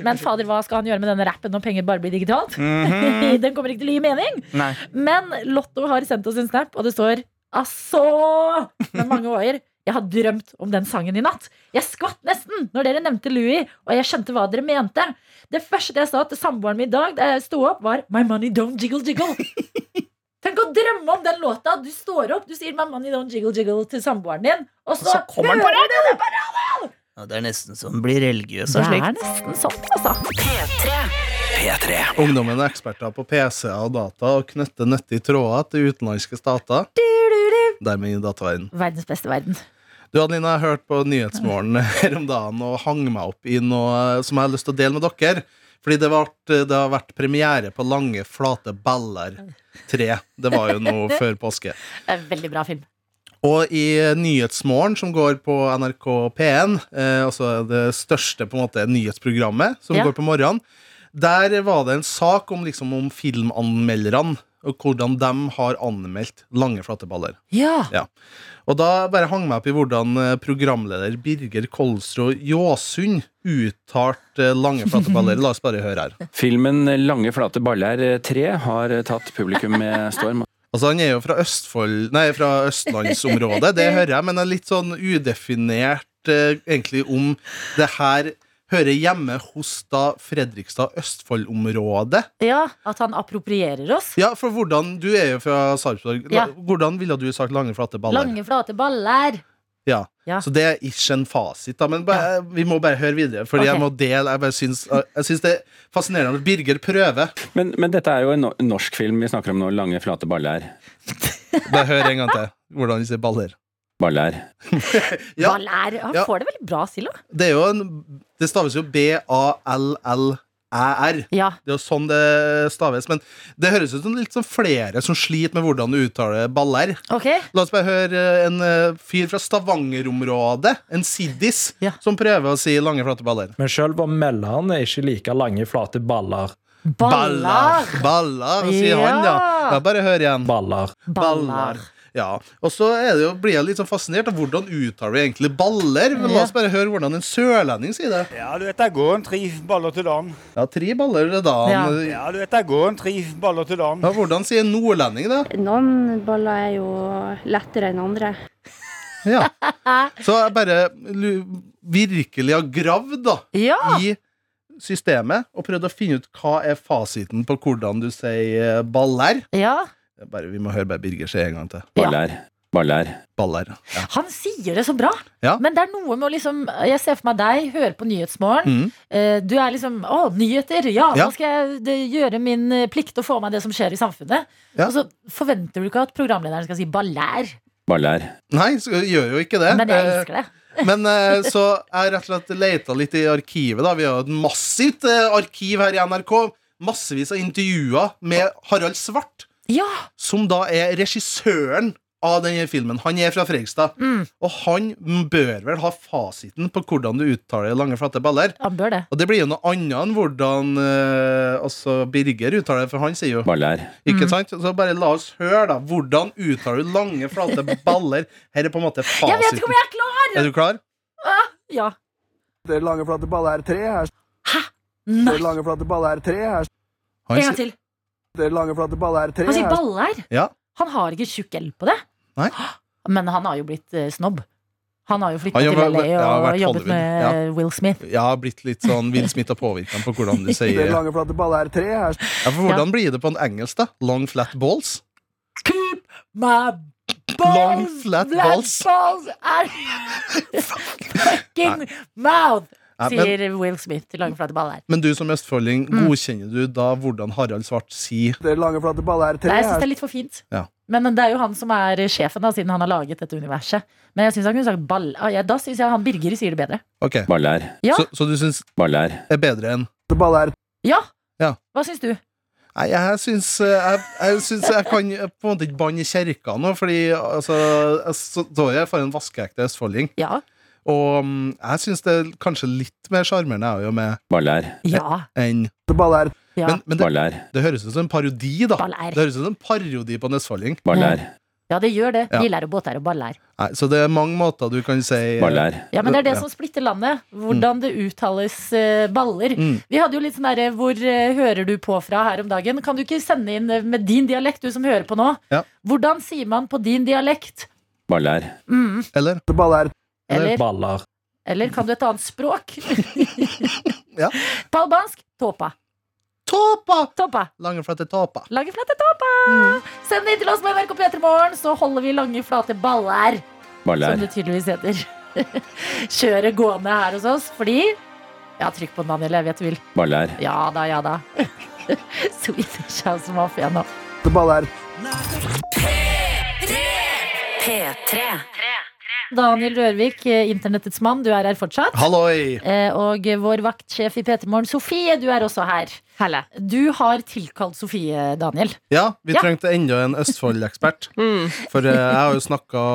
Speaker 4: Men fader, hva skal han gjøre med denne rappen når penger bare blir digitalt?
Speaker 5: Mhm.
Speaker 4: *laughs* den kommer ikke til å gi mening.
Speaker 5: Nei.
Speaker 4: Men Lotto har sendt oss en snap, og det står Asså! Med mange åer. Jeg har drømt om den sangen i natt. Jeg skvatt nesten når dere nevnte Louis, og jeg skjønte hva dere mente. Det første jeg sa til samboeren min i dag da jeg sto opp, var My money don't jiggle
Speaker 5: *laughs*
Speaker 4: jiggle. Tenk å drømme om den låta. Du står opp, du sier My money don't jiggle jiggle til samboeren din, og så,
Speaker 5: så kommer den på
Speaker 4: hører du det på
Speaker 5: det er nesten som blir religiøs
Speaker 4: Det er nesten sånn, altså.
Speaker 5: P3.
Speaker 6: Ungdommen er eksperter på PC-er og data og knytter nyttige tråder til utenlandske stater. Dermed i dataverdenen.
Speaker 4: Verdens beste verden.
Speaker 6: Du, Adelina, jeg hørte på Nyhetsmorgen *laughs* her om dagen og hang meg opp i noe som jeg har lyst til å dele med dere. Fordi det, vart, det har vært premiere på Lange flate baller 3. Det var jo nå før påske.
Speaker 4: Det er en Veldig bra film.
Speaker 6: Og i Nyhetsmorgen, som går på NRK P1, eh, altså det største på en måte nyhetsprogrammet som
Speaker 18: Ja.
Speaker 6: går på morgenen, der var det en sak om, liksom, om filmanmelderne, og hvordan de har anmeldt lange flateballer.
Speaker 4: Ja.
Speaker 6: Ja. Og da bare hang meg opp i hvordan eh, programleder Birger Kolstrå Jåsund uttalte eh, lange flateballer. La oss bare høre her.
Speaker 10: Filmen 'Lange flate baller 3' har eh, tatt publikum med storm.
Speaker 6: Altså, han er jo fra Østfold Nei, fra østlandsområdet,
Speaker 4: *laughs*
Speaker 6: det hører jeg, men er litt sånn udefinert eh, egentlig om det her hører hjemme hos da Fredrikstad-Østfold-området.
Speaker 4: Ja, at han approprierer oss.
Speaker 6: Ja, for hvordan Du er jo fra Sarpsborg. La-
Speaker 4: Ja.
Speaker 6: Hvordan ville du sagt lange, flate baller?
Speaker 4: Lange, flate baller.
Speaker 6: Ja.
Speaker 4: Ja.
Speaker 6: Så det er ikke en fasit, da. Men bare, vi må bare høre videre, Fordi jeg
Speaker 10: Ok.
Speaker 6: må dele. Jeg, bare syns, jeg syns det er fascinerende at Birger prøver.
Speaker 10: Men, men dette er jo en no- norsk film vi snakker om nå. 'Lange flate baller'.
Speaker 6: Bare hør en gang til hvordan de sier baller.
Speaker 10: Baller.
Speaker 4: Baller. Han får det veldig bra, Silla.
Speaker 6: Det er jo en Det staves jo B-A-L-L-æ-r.
Speaker 4: Det
Speaker 6: er jo sånn det staves. Men det høres ut som litt sånn flere som sliter med hvordan du uttaler baller. La oss bare høre eh, en eh, fyr fra Stavanger-området, en siddis, som prøver å si lange, flate baller.
Speaker 19: Men sjøl var melderne ikke like lange, flate baller.
Speaker 6: Baller! Baller, sier han, ja. ja. Bare hør igjen.
Speaker 19: Baller.
Speaker 6: Baller. Ja, Og så er det jo, blir jeg litt sånn fascinert av hvordan uttaler vi egentlig baller. Men la oss bare høre hvordan en sørlending sier det.
Speaker 20: Ja, du vet det går en tre baller til dagen.
Speaker 6: Ja, tre baller til dagen.
Speaker 20: Ja. Ja, du vet det går en tre baller til dagen.
Speaker 6: Ja, hvordan sier en nordlending det?
Speaker 21: Noen baller er jo lettere enn andre.
Speaker 4: *laughs*
Speaker 6: Ja. Så jeg bare lu- virkelig har gravd da, i systemet og prøvd å finne ut hva er fasiten på hvordan du sier baller. Bare, vi må høre bare Birger si en gang til.
Speaker 10: Baller. Baller.
Speaker 6: Baller. Ja.
Speaker 4: Han sier det så bra!
Speaker 6: Ja.
Speaker 4: Men det er noe med å liksom Jeg ser for meg deg, hører på Nyhetsmorgen.
Speaker 6: Mm.
Speaker 4: Eh, Du er liksom Å, nyheter! Ja,
Speaker 6: Ja.
Speaker 4: nå skal jeg det- gjøre min eh, plikt og få med meg det som skjer i samfunnet.
Speaker 6: Ja.
Speaker 4: Og så forventer du ikke at programlederen skal si 'ballær'.
Speaker 10: Baller.
Speaker 6: Nei, så gjør jo ikke det.
Speaker 4: Men jeg elsker
Speaker 6: Eh,
Speaker 4: det.
Speaker 6: Men
Speaker 4: *laughs*
Speaker 6: eh, så jeg har rett og slett leita litt i arkivet. da Vi har jo et massivt eh, arkiv her i NRK. Massevis av intervjuer med Harald Svart, som da er regissøren av denne filmen. Han er fra Fredrikstad.
Speaker 4: Mm.
Speaker 6: Og han bør vel ha fasiten på hvordan du uttaler lange, flate baller.
Speaker 4: Han bør det.
Speaker 6: Og det blir jo noe annet enn hvordan eh, altså Birger uttaler det, for han sier jo
Speaker 10: Baller.
Speaker 4: Mm.
Speaker 6: Ikke sant? Så bare la oss høre, da. Hvordan uttaler du lange, flate baller? Her er på en måte fasiten.
Speaker 4: Jeg vet ikke om jeg er klar!
Speaker 6: Er du klar?
Speaker 4: Ah, ja.
Speaker 18: Dere lange flate baller er tre her.
Speaker 4: Hæ?
Speaker 18: Dere lange flate baller er tre her.
Speaker 6: Han En gang sier-
Speaker 4: til.
Speaker 18: Dere lange flate baller er tre
Speaker 4: Han sier
Speaker 18: her.
Speaker 4: baller.
Speaker 6: Ja.
Speaker 4: Han har ikke tjukk L på det.
Speaker 6: Nei.
Speaker 4: *gasps* Men han har jo blitt eh, snobb. Han har jo flytta
Speaker 6: Han
Speaker 4: til
Speaker 6: jobber-
Speaker 4: LA og
Speaker 6: ja, vært Hollywood.
Speaker 4: jobbet med eh,
Speaker 6: Ja.
Speaker 4: Will Smith.
Speaker 6: Jeg har blitt litt sånn Will Smith har påvirket ham på hvordan du
Speaker 18: *laughs*
Speaker 6: sier
Speaker 18: Dere
Speaker 6: ja,
Speaker 18: lange flate baller er tre her.
Speaker 6: For hvordan blir det på en engelsk, da? Long flat balls?
Speaker 4: My
Speaker 6: Long flat
Speaker 4: black
Speaker 6: balls.
Speaker 4: balls
Speaker 6: *laughs*
Speaker 4: are fucking mouth,
Speaker 6: Nei, men-
Speaker 4: sier Will Smith til lange, flate baller.
Speaker 6: Men du som østfolding,
Speaker 4: Mm.
Speaker 6: godkjenner du da hvordan Harald Svart sier
Speaker 18: Dere lange flate baller er
Speaker 4: Nei,
Speaker 18: tre
Speaker 4: jeg syns det
Speaker 18: her.
Speaker 4: er litt for fint.
Speaker 6: Ja.
Speaker 4: Men det er jo han som er eh, sjefen, da, siden han har laget dette universet. Men jeg syns han kunne sagt ball... Ah, ja, Da syns jeg han Birger sier det bedre.
Speaker 6: Ok.
Speaker 10: Baller.
Speaker 4: Ja.
Speaker 6: Så, så du syns
Speaker 10: Baller.
Speaker 6: er bedre enn
Speaker 18: Baller.
Speaker 4: Ja!
Speaker 6: Ja.
Speaker 4: Hva syns du?
Speaker 6: Nei, jeg syns eh, jeg, jeg, syns jeg kan eh, på en måte ikke banne i kjerka nå, fordi altså, jeg står jeg for en vaskeekte østfolding. Og mm, jeg syns det er kanskje litt mer sjarmerende, jeg er jo med
Speaker 10: Baller.
Speaker 4: Ja.
Speaker 6: enn
Speaker 18: Baller.
Speaker 4: Ja.
Speaker 6: Men, men det,
Speaker 10: Baller.
Speaker 6: det høres ut som en parodi, da.
Speaker 4: Baller.
Speaker 6: Det høres ut som en parodi på en østfolding.
Speaker 10: Baller.
Speaker 4: Ja, det gjør det.
Speaker 6: Ja.
Speaker 4: Biler og båter og baller.
Speaker 6: Nei, så det er mange måter du kan si eh,
Speaker 10: Baller.
Speaker 4: Ja, men det er det som splitter landet. Hvordan det uttales eh, baller.
Speaker 6: Mm.
Speaker 4: Vi hadde jo litt sånn derre Hvor eh, hører du på fra her om dagen? Kan du ikke sende inn eh, med din dialekt, du som hører på nå?
Speaker 6: Ja.
Speaker 4: Hvordan sier man på din dialekt?
Speaker 10: Baller.
Speaker 4: Mm.
Speaker 6: Eller?
Speaker 18: Baller.
Speaker 4: Eller?
Speaker 19: Baller.
Speaker 4: Eller kan du et annet språk?
Speaker 6: *laughs* ja.
Speaker 4: På albansk tåpa.
Speaker 6: Tåpa!
Speaker 4: Tåpa.
Speaker 6: Lange, flate tåpa. Mm.
Speaker 4: Lange, flate tåpa! Send det inn til oss på NRK P3 Morgen, så holder vi lange, flate baller.
Speaker 10: Baller.
Speaker 4: Som det tydeligvis heter. *laughs* Kjøret gående her hos oss, fordi Ja, trykk på den, Daniel. Jeg vet du vil.
Speaker 10: Baller.
Speaker 4: Ja da, ja da. *laughs* Swedish House Mafia nå.
Speaker 18: Baller.
Speaker 1: P3.
Speaker 4: Daniel Rørvik, eh, internettets mann, du er her fortsatt.
Speaker 6: Halloi!
Speaker 4: Eh, Og vår vaktsjef i P3 Morgen, Sofie, du er også her. Du har tilkalt Sofie, Daniel.
Speaker 6: Ja, vi
Speaker 4: Ja.
Speaker 6: trengte enda en Østfold-ekspert. For eh, jeg har jo snakka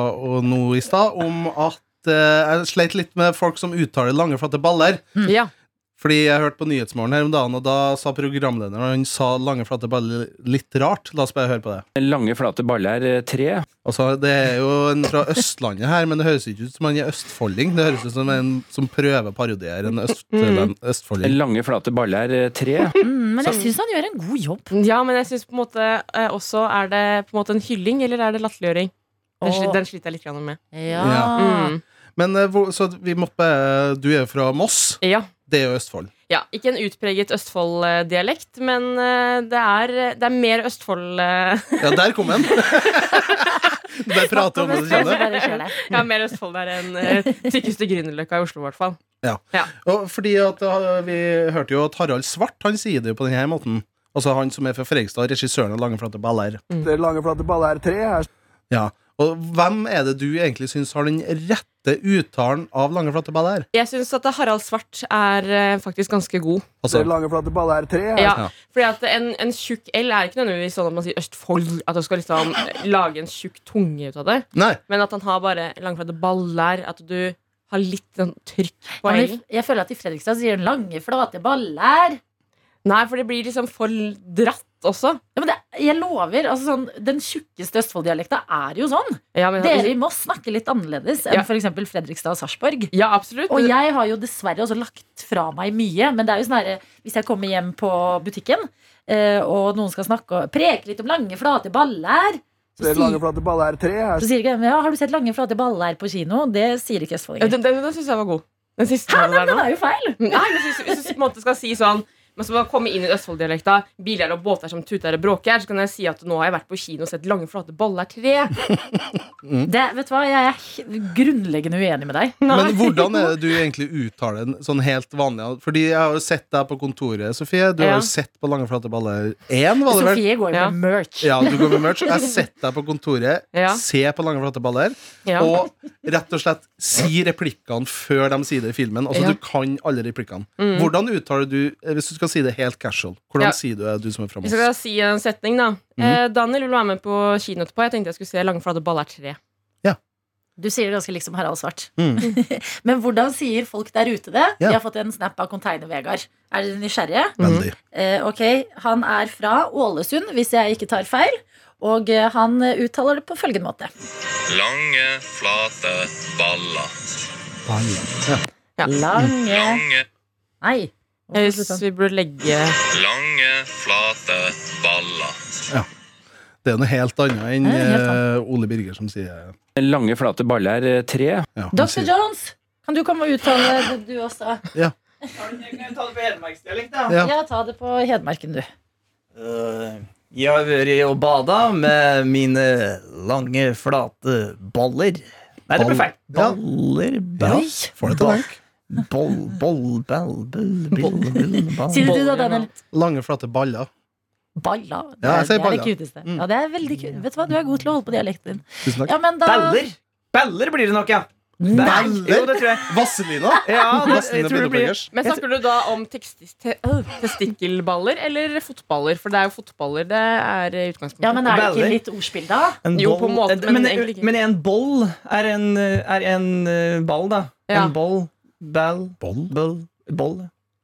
Speaker 6: nå i stad om at eh, jeg sleit litt med folk som uttaler lange, flate baller. Fordi jeg hørte på Nyhetsmorgen her om dagen, og da sa programlederen han sa lange, flate baller litt rart. La oss bare høre på det.
Speaker 10: Lange, flate baller eh, tre.
Speaker 6: Altså, Det er jo en fra Østlandet her, men det høres ikke ut som han er østfolding. Det høres ut som en som prøver å parodiere en østland, østfolding.
Speaker 10: Lange, flate baller eh, tre.
Speaker 22: Mm,
Speaker 4: men jeg syns han gjør en god jobb.
Speaker 22: Ja, men jeg syns på en måte eh, også Er det på en måte en hylling, eller er det latterliggjøring? Den, sli,
Speaker 4: Åh.
Speaker 22: den sliter jeg litt grann med.
Speaker 6: Ja.
Speaker 22: Mm.
Speaker 6: Men eh, hvor- så vi måtte bare Du er jo fra Moss.
Speaker 22: Ja.
Speaker 6: Det er jo Østfold.
Speaker 22: ja ikke en utpreget Østfold-dialekt, men eh, det er, det er mer Østfold eh,
Speaker 6: Ja, der kom
Speaker 22: *laughs*
Speaker 6: den! Der prater om det du kjenner.
Speaker 22: Ja, mer Østfold der enn eh, tykkeste Grünerløkka i Oslo, i hvert fall.
Speaker 6: Ja. Og fordi at uh, Vi hørte jo at Harald Svart han sier det jo på denne måten. Altså Han som er fra Fredrikstad, regissøren av Lange flate baller.
Speaker 22: Mm.
Speaker 18: Dere lange flate baller er tre her.
Speaker 6: Ja. Og hvem er det du egentlig syns har den rette uttalen av Lange flate baller?
Speaker 22: Jeg syns at Harald Svart er eh, faktisk ganske god.
Speaker 6: Altså- Dere
Speaker 18: Lange flate baller er tre her.
Speaker 22: Ja, fordi at en, en tjukk L er ikke nødvendigvis sånn at man sier Østfold, at du skal liksom eh, lage en tjukk tunge ut av det.
Speaker 6: Nei.
Speaker 22: Men at han har bare langflate baller, at du har litt sånn trykk på
Speaker 4: Men
Speaker 22: L.
Speaker 4: i- Jeg føler at i Fredrikstad sier han lange, flate baller.
Speaker 22: Nei, for det blir liksom for dratt også.
Speaker 4: Ja, men det, jeg lover, altså sånn, Den tjukkeste Østfold-dialekta er jo sånn.
Speaker 22: Ja, men-
Speaker 4: Dere i Moss snakker litt annerledes enn
Speaker 22: Ja.
Speaker 4: for f.eks. Fredrikstad og Sarpsborg.
Speaker 22: Ja, absolutt.
Speaker 4: Og jeg har jo dessverre også lagt fra meg mye. Men det er jo sånn herre Hvis jeg kommer hjem på butikken, eh, og noen skal snakke og preke litt om lange, flate baller så
Speaker 18: Dere lange
Speaker 4: sier,
Speaker 18: flate baller er tre her.
Speaker 4: så sier ikke de ja, 'Har du sett lange, flate baller på kino?' Det sier ikke
Speaker 22: Ja, Den,
Speaker 4: østfoldinger.
Speaker 22: den, den syns jeg var god. Den siste var
Speaker 4: Hæ,
Speaker 22: det Mm,
Speaker 4: nei,
Speaker 22: der
Speaker 4: men den
Speaker 22: nå.
Speaker 4: er jo feil!
Speaker 22: Nei, men hvis, hvis du på en måte skal si sånn Men så må jeg komme inn i Østfold-dialekta. Biler og båter som tuter og bråker. Så kan jeg si at nå har jeg vært på kino og sett lange, flate baller tre.
Speaker 4: Det, vet du hva, Jeg er he- grunnleggende uenig med deg.
Speaker 6: Men hvordan er det du egentlig uttaler den sånn helt vanlig? Fordi jeg har jo sett deg på kontoret, Sofie. Du har
Speaker 4: Ja.
Speaker 6: jo sett på Lange flate baller 1, var det vel?
Speaker 4: Sofie går jo med merch.
Speaker 6: Ja, du går med merch. Jeg har sett deg på kontoret,
Speaker 4: Ja.
Speaker 6: se på Lange flate baller,
Speaker 4: Ja.
Speaker 6: og rett og slett si replikkene før de sier det i filmen. Altså,
Speaker 22: Ja.
Speaker 6: du kan alle replikkene.
Speaker 22: Mm.
Speaker 6: Hvordan uttaler du, eh, hvis du skal si det helt casual,
Speaker 22: Ja.
Speaker 6: hvordan sier du det, du som er framme?
Speaker 22: Hvis jeg skal si en setning, da. Eh, Daniel vil være med på kino etterpå. Jeg tenkte jeg skulle se Lange, flate baller tre.
Speaker 4: Du sier det ganske liksom Harald Svart. *laughs*
Speaker 6: Mm.
Speaker 4: Men hvordan sier folk der ute det?
Speaker 6: Ja.
Speaker 4: Vi har fått en snap av Container-Vegard. Er dere nysgjerrige?
Speaker 6: Veldig.
Speaker 4: Eh, ok, Han er fra Ålesund, hvis jeg ikke tar feil. Og eh, han eh, uttaler det på følgende måte.
Speaker 23: Lange, flate baller.
Speaker 22: Ja.
Speaker 23: Lange,
Speaker 4: Nei.
Speaker 22: Jeg syns vi burde legge
Speaker 23: lange, flate baller.
Speaker 6: Det er noe helt annet enn
Speaker 4: Ja, helt
Speaker 6: eh, Ole Birger som sier eh,
Speaker 10: Lange, flate baller eh, tre.
Speaker 4: Dr. Jones, kan du komme og uttale det du også?
Speaker 6: Ja.
Speaker 5: Ta det på hedmarksdialekt, da.
Speaker 4: Ja. ta det på Hedmarken, du.
Speaker 5: Eh, Jeg har vært og bada med mine lange, flate baller. Nei, det ble feil. Baller, ball,
Speaker 6: Får det til deg.
Speaker 5: Boll, boll, ball, bull, bill, bill, ball.
Speaker 4: *laughs* Sier du da, Daniel?
Speaker 6: Lange, flate baller.
Speaker 4: Balla. Det,
Speaker 6: Ja, jeg sier
Speaker 4: er- det er
Speaker 6: balla. Mm.
Speaker 4: det cuteste. Ja, det er veldig kult. Vet du hva, du er god til å holde på dialekten din.
Speaker 6: Tusen
Speaker 4: Ja, men da...
Speaker 5: Baller! Baller blir det nok, ja. Baller? Jo, det tror jeg.
Speaker 6: Vazelina?
Speaker 5: Ja, det, jeg
Speaker 6: Vazelina
Speaker 5: tror det blir
Speaker 6: Bilderbergers.
Speaker 22: Men snakker du da om tekstis, te, øh, testikkelballer eller fotballer? For det er jo fotballer det er i utgangspunktet.
Speaker 4: Ja, men er det ikke litt ordspill, da?
Speaker 5: En
Speaker 22: Jo, på
Speaker 5: boll-
Speaker 22: en måte,
Speaker 5: en-
Speaker 22: men,
Speaker 5: men,
Speaker 22: egentlig ikke.
Speaker 5: men en boll er en, er en eh, ball, da.
Speaker 22: Ja.
Speaker 5: En boll, ball, boll, boll.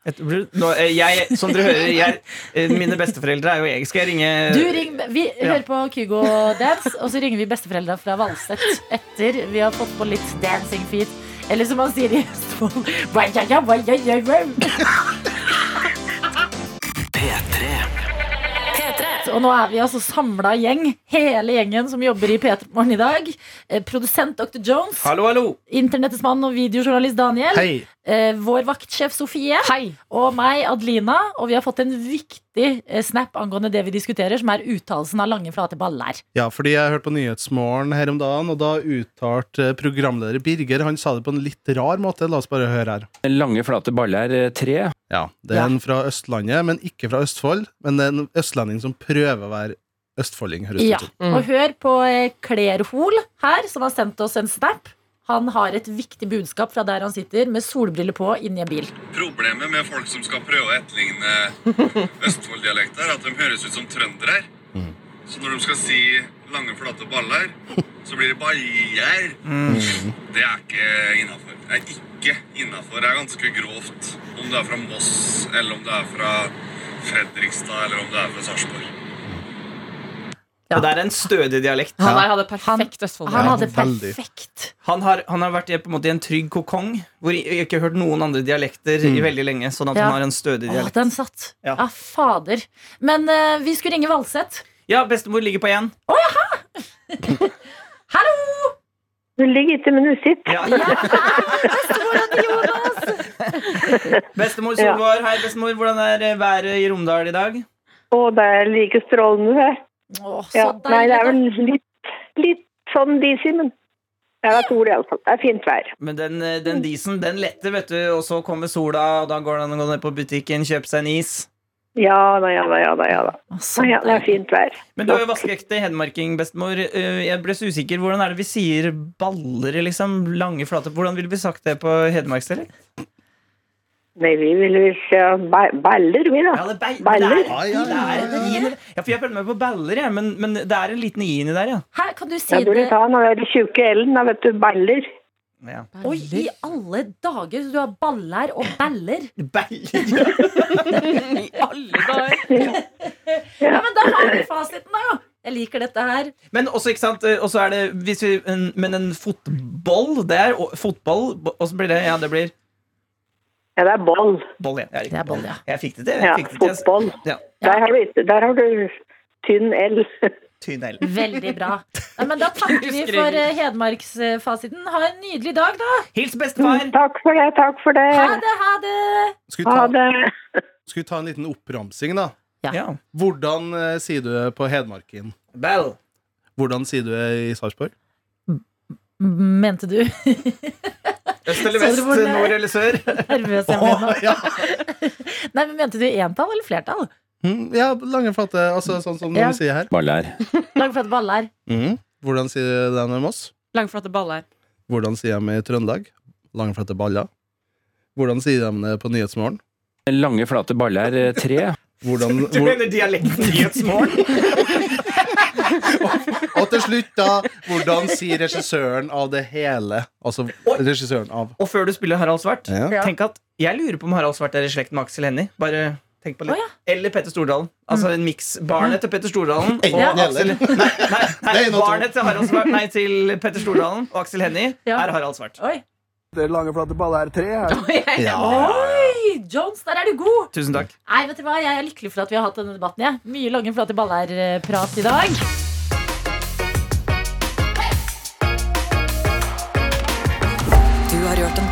Speaker 5: Et- Nå, eh, jeg, som dere hører, jeg, eh, mine besteforeldre er jo jeg. Skal jeg ringe
Speaker 4: Du ring, vi
Speaker 5: Eh, Ja.
Speaker 4: hører på Kygo Dance, og så ringer vi besteforeldra fra Valset etter vi har fått på litt dancing feet. Eller som han sier i Østfold wai, ja, ja, wai, ja, ja, wai. Og nå er vi altså samla gjeng, hele gjengen som jobber i P3 Morgen i dag. Eh, Produsent Dr. Jones.
Speaker 5: Hallo, hallo!
Speaker 4: Internettets mann og videojournalist Daniel.
Speaker 5: Hei.
Speaker 4: Eh, vår vaktsjef Sofie. Og meg, Adelina. Og vi har fått en viktig eh, snap angående det vi diskuterer, som er uttalelsen av lange, flate baller.
Speaker 6: Ja, fordi jeg hørte på Nyhetsmorgen her om dagen, og da uttalte programleder Birger Han sa det på en litt rar måte. La oss bare høre her.
Speaker 10: Lange, flate baller eh, tre.
Speaker 6: Ja, Det er en fra Østlandet, men ikke fra Østfold. Men det er en østlending som prøver å være østfolding, høres det
Speaker 4: Ja.
Speaker 6: ut som.
Speaker 4: Og hør på eh, Klerhol her, som har sendt oss en snap. Han har et viktig budskap fra der han sitter, med solbriller på, inni en bil.
Speaker 7: Problemet med folk som skal prøve å
Speaker 18: *laughs*
Speaker 7: etterligne Østfold-dialekter, er at de høres ut som trøndere. Så når de skal si lange, flate baller, så blir det baller.
Speaker 6: Mm.
Speaker 7: Det er ikke innafor. Det er ikke innafor. Det er ganske grovt. Om du er fra Moss, eller om du er fra Fredrikstad, eller om du er fra Sarpsborg.
Speaker 5: Og det er en stødig dialekt.
Speaker 22: Han der hadde perfekt
Speaker 4: Han
Speaker 22: Østfold.
Speaker 4: hadde perfekt
Speaker 5: Han har, han har vært i, på en måte i en trygg kokong, hvor jeg ikke har hørt noen andre dialekter i veldig lenge. Sånn at
Speaker 4: Ja.
Speaker 5: han har en stødig
Speaker 4: Å,
Speaker 5: dialekt.
Speaker 4: den satt. Ja, fader. Men eh, vi skulle ringe Valseth.
Speaker 5: Ja, bestemor ligger på én.
Speaker 4: Hallo!
Speaker 11: Du ligger ikke, men du
Speaker 4: *laughs*
Speaker 11: sitter.
Speaker 5: Ja.
Speaker 4: altså.
Speaker 11: *laughs*
Speaker 5: Bestemor Solvår, hei, bestemor. Hvordan er eh, været i Romdal i dag?
Speaker 11: Og det er like strålende her. Ja.
Speaker 5: deilig,
Speaker 11: Nei, det er vel litt, litt sånn disig, men ja, det er sol iallfall. Det er fint vær.
Speaker 5: Men den, eh, den disen, den letter, vet du. Og så kommer sola, og da går det an å gå ned på butikken, kjøpe seg en is.
Speaker 11: Ja da, ja da, ja da. Ja, da. Nei, ja, det er fint vær.
Speaker 5: Men du er jo vaskeekte hedmarking, bestemor. Eh, Jeg ble så usikker. Hvordan er det vi sier baller, liksom? Lange flater. Hvordan ville vi sagt det på hedmarksdialekt?
Speaker 11: Nei, vi vil vel se ba- baller, vi, da. baller.
Speaker 5: Ja, ja, det er en i der. ja, for jeg følger med på baller, jeg, men, men det er en liten i inni der, ja.
Speaker 4: Her kan du si
Speaker 11: Da burde
Speaker 4: det.
Speaker 11: du ta den der tjukke L-en, da, vet du. Baller.
Speaker 5: ja.
Speaker 4: Oi, i alle dager! Så du har baller og baller.
Speaker 5: *laughs*
Speaker 4: *laughs*
Speaker 5: I
Speaker 4: alle dager! ja, men da har vi fasiten, da! Jeg liker dette her.
Speaker 5: Men også, ikke sant, eh, også er det hvis vi, en, Men en fotball, det er og- fotball Åssen blir det? Ja, det blir
Speaker 11: Ja, det er boll.
Speaker 5: Boll, ja. Det
Speaker 4: er boll, ja.
Speaker 5: Jeg fikk det til.
Speaker 11: Ja,
Speaker 5: Jeg fikk det til.
Speaker 11: fotball.
Speaker 5: Ja.
Speaker 11: Der har du, ikke- der har du tynn L.
Speaker 5: Tynn L.
Speaker 4: Veldig bra. Nei, men da takker vi for eh, Hedmarksfasiten. Ha en nydelig dag, da!
Speaker 5: Hils bestefar!
Speaker 11: Takk for det, takk for det.
Speaker 4: Ha det, ha det!
Speaker 6: Skal vi ta, *laughs* Skal vi ta en liten oppramsing, da?
Speaker 5: Ja. Ja.
Speaker 6: Hvordan eh, sier du det på Hedmarken?
Speaker 5: Bell.
Speaker 6: Hvordan sier du det i Sarpsborg?
Speaker 4: Mente du?
Speaker 5: *laughs* Øst eller
Speaker 4: Så
Speaker 5: vest,
Speaker 4: du hvor det-
Speaker 5: nord eller sør?
Speaker 4: Nervøs jeg ble nå. *laughs* Nei, men Mente du entall eller flertall?
Speaker 6: Mm, ja, lange flate. Altså sånn som
Speaker 4: Ja.
Speaker 6: de sier her.
Speaker 10: Ballær.
Speaker 4: Langflate baller.
Speaker 6: Mhm. Hvordan sier de det med Moss?
Speaker 22: Langflate baller.
Speaker 6: Hvordan sier de i Trøndelag? Langflate baller. Hvordan sier de det på Nyhetsmorgen?
Speaker 10: Lange, flate baller eh, tre.
Speaker 6: Hvordan,
Speaker 5: Du *laughs* mener dialekten Nyhetsmorgen?
Speaker 6: Og til slutt, da, hvordan sier regissøren av det hele? Altså regissøren av
Speaker 5: Og før du spiller Harald Svart,
Speaker 6: Ja.
Speaker 5: tenk at jeg lurer på om Harald Svart er i slekt med Aksel Hennie. Bare tenk på det. Eller Petter Stordalen. Altså en miks. Barnet til Petter Stordalen og
Speaker 6: Mm. Ja.
Speaker 5: Aksel Nei, nei, nei
Speaker 6: *laughs* Det er en av to.
Speaker 5: barnet til, Harald Svart, nei, til Petter Stordalen og Aksel Hennie er Harald Svart.
Speaker 18: Det er lange, flate baller tre her.
Speaker 4: *laughs* Oi! Jones, der er du god!
Speaker 5: Tusen takk.
Speaker 4: Nei, vet dere hva? Jeg er lykkelig for at vi har hatt denne debatten. Jeg. Mye lange, flate baller-prat i dag.
Speaker 3: Du har hørt en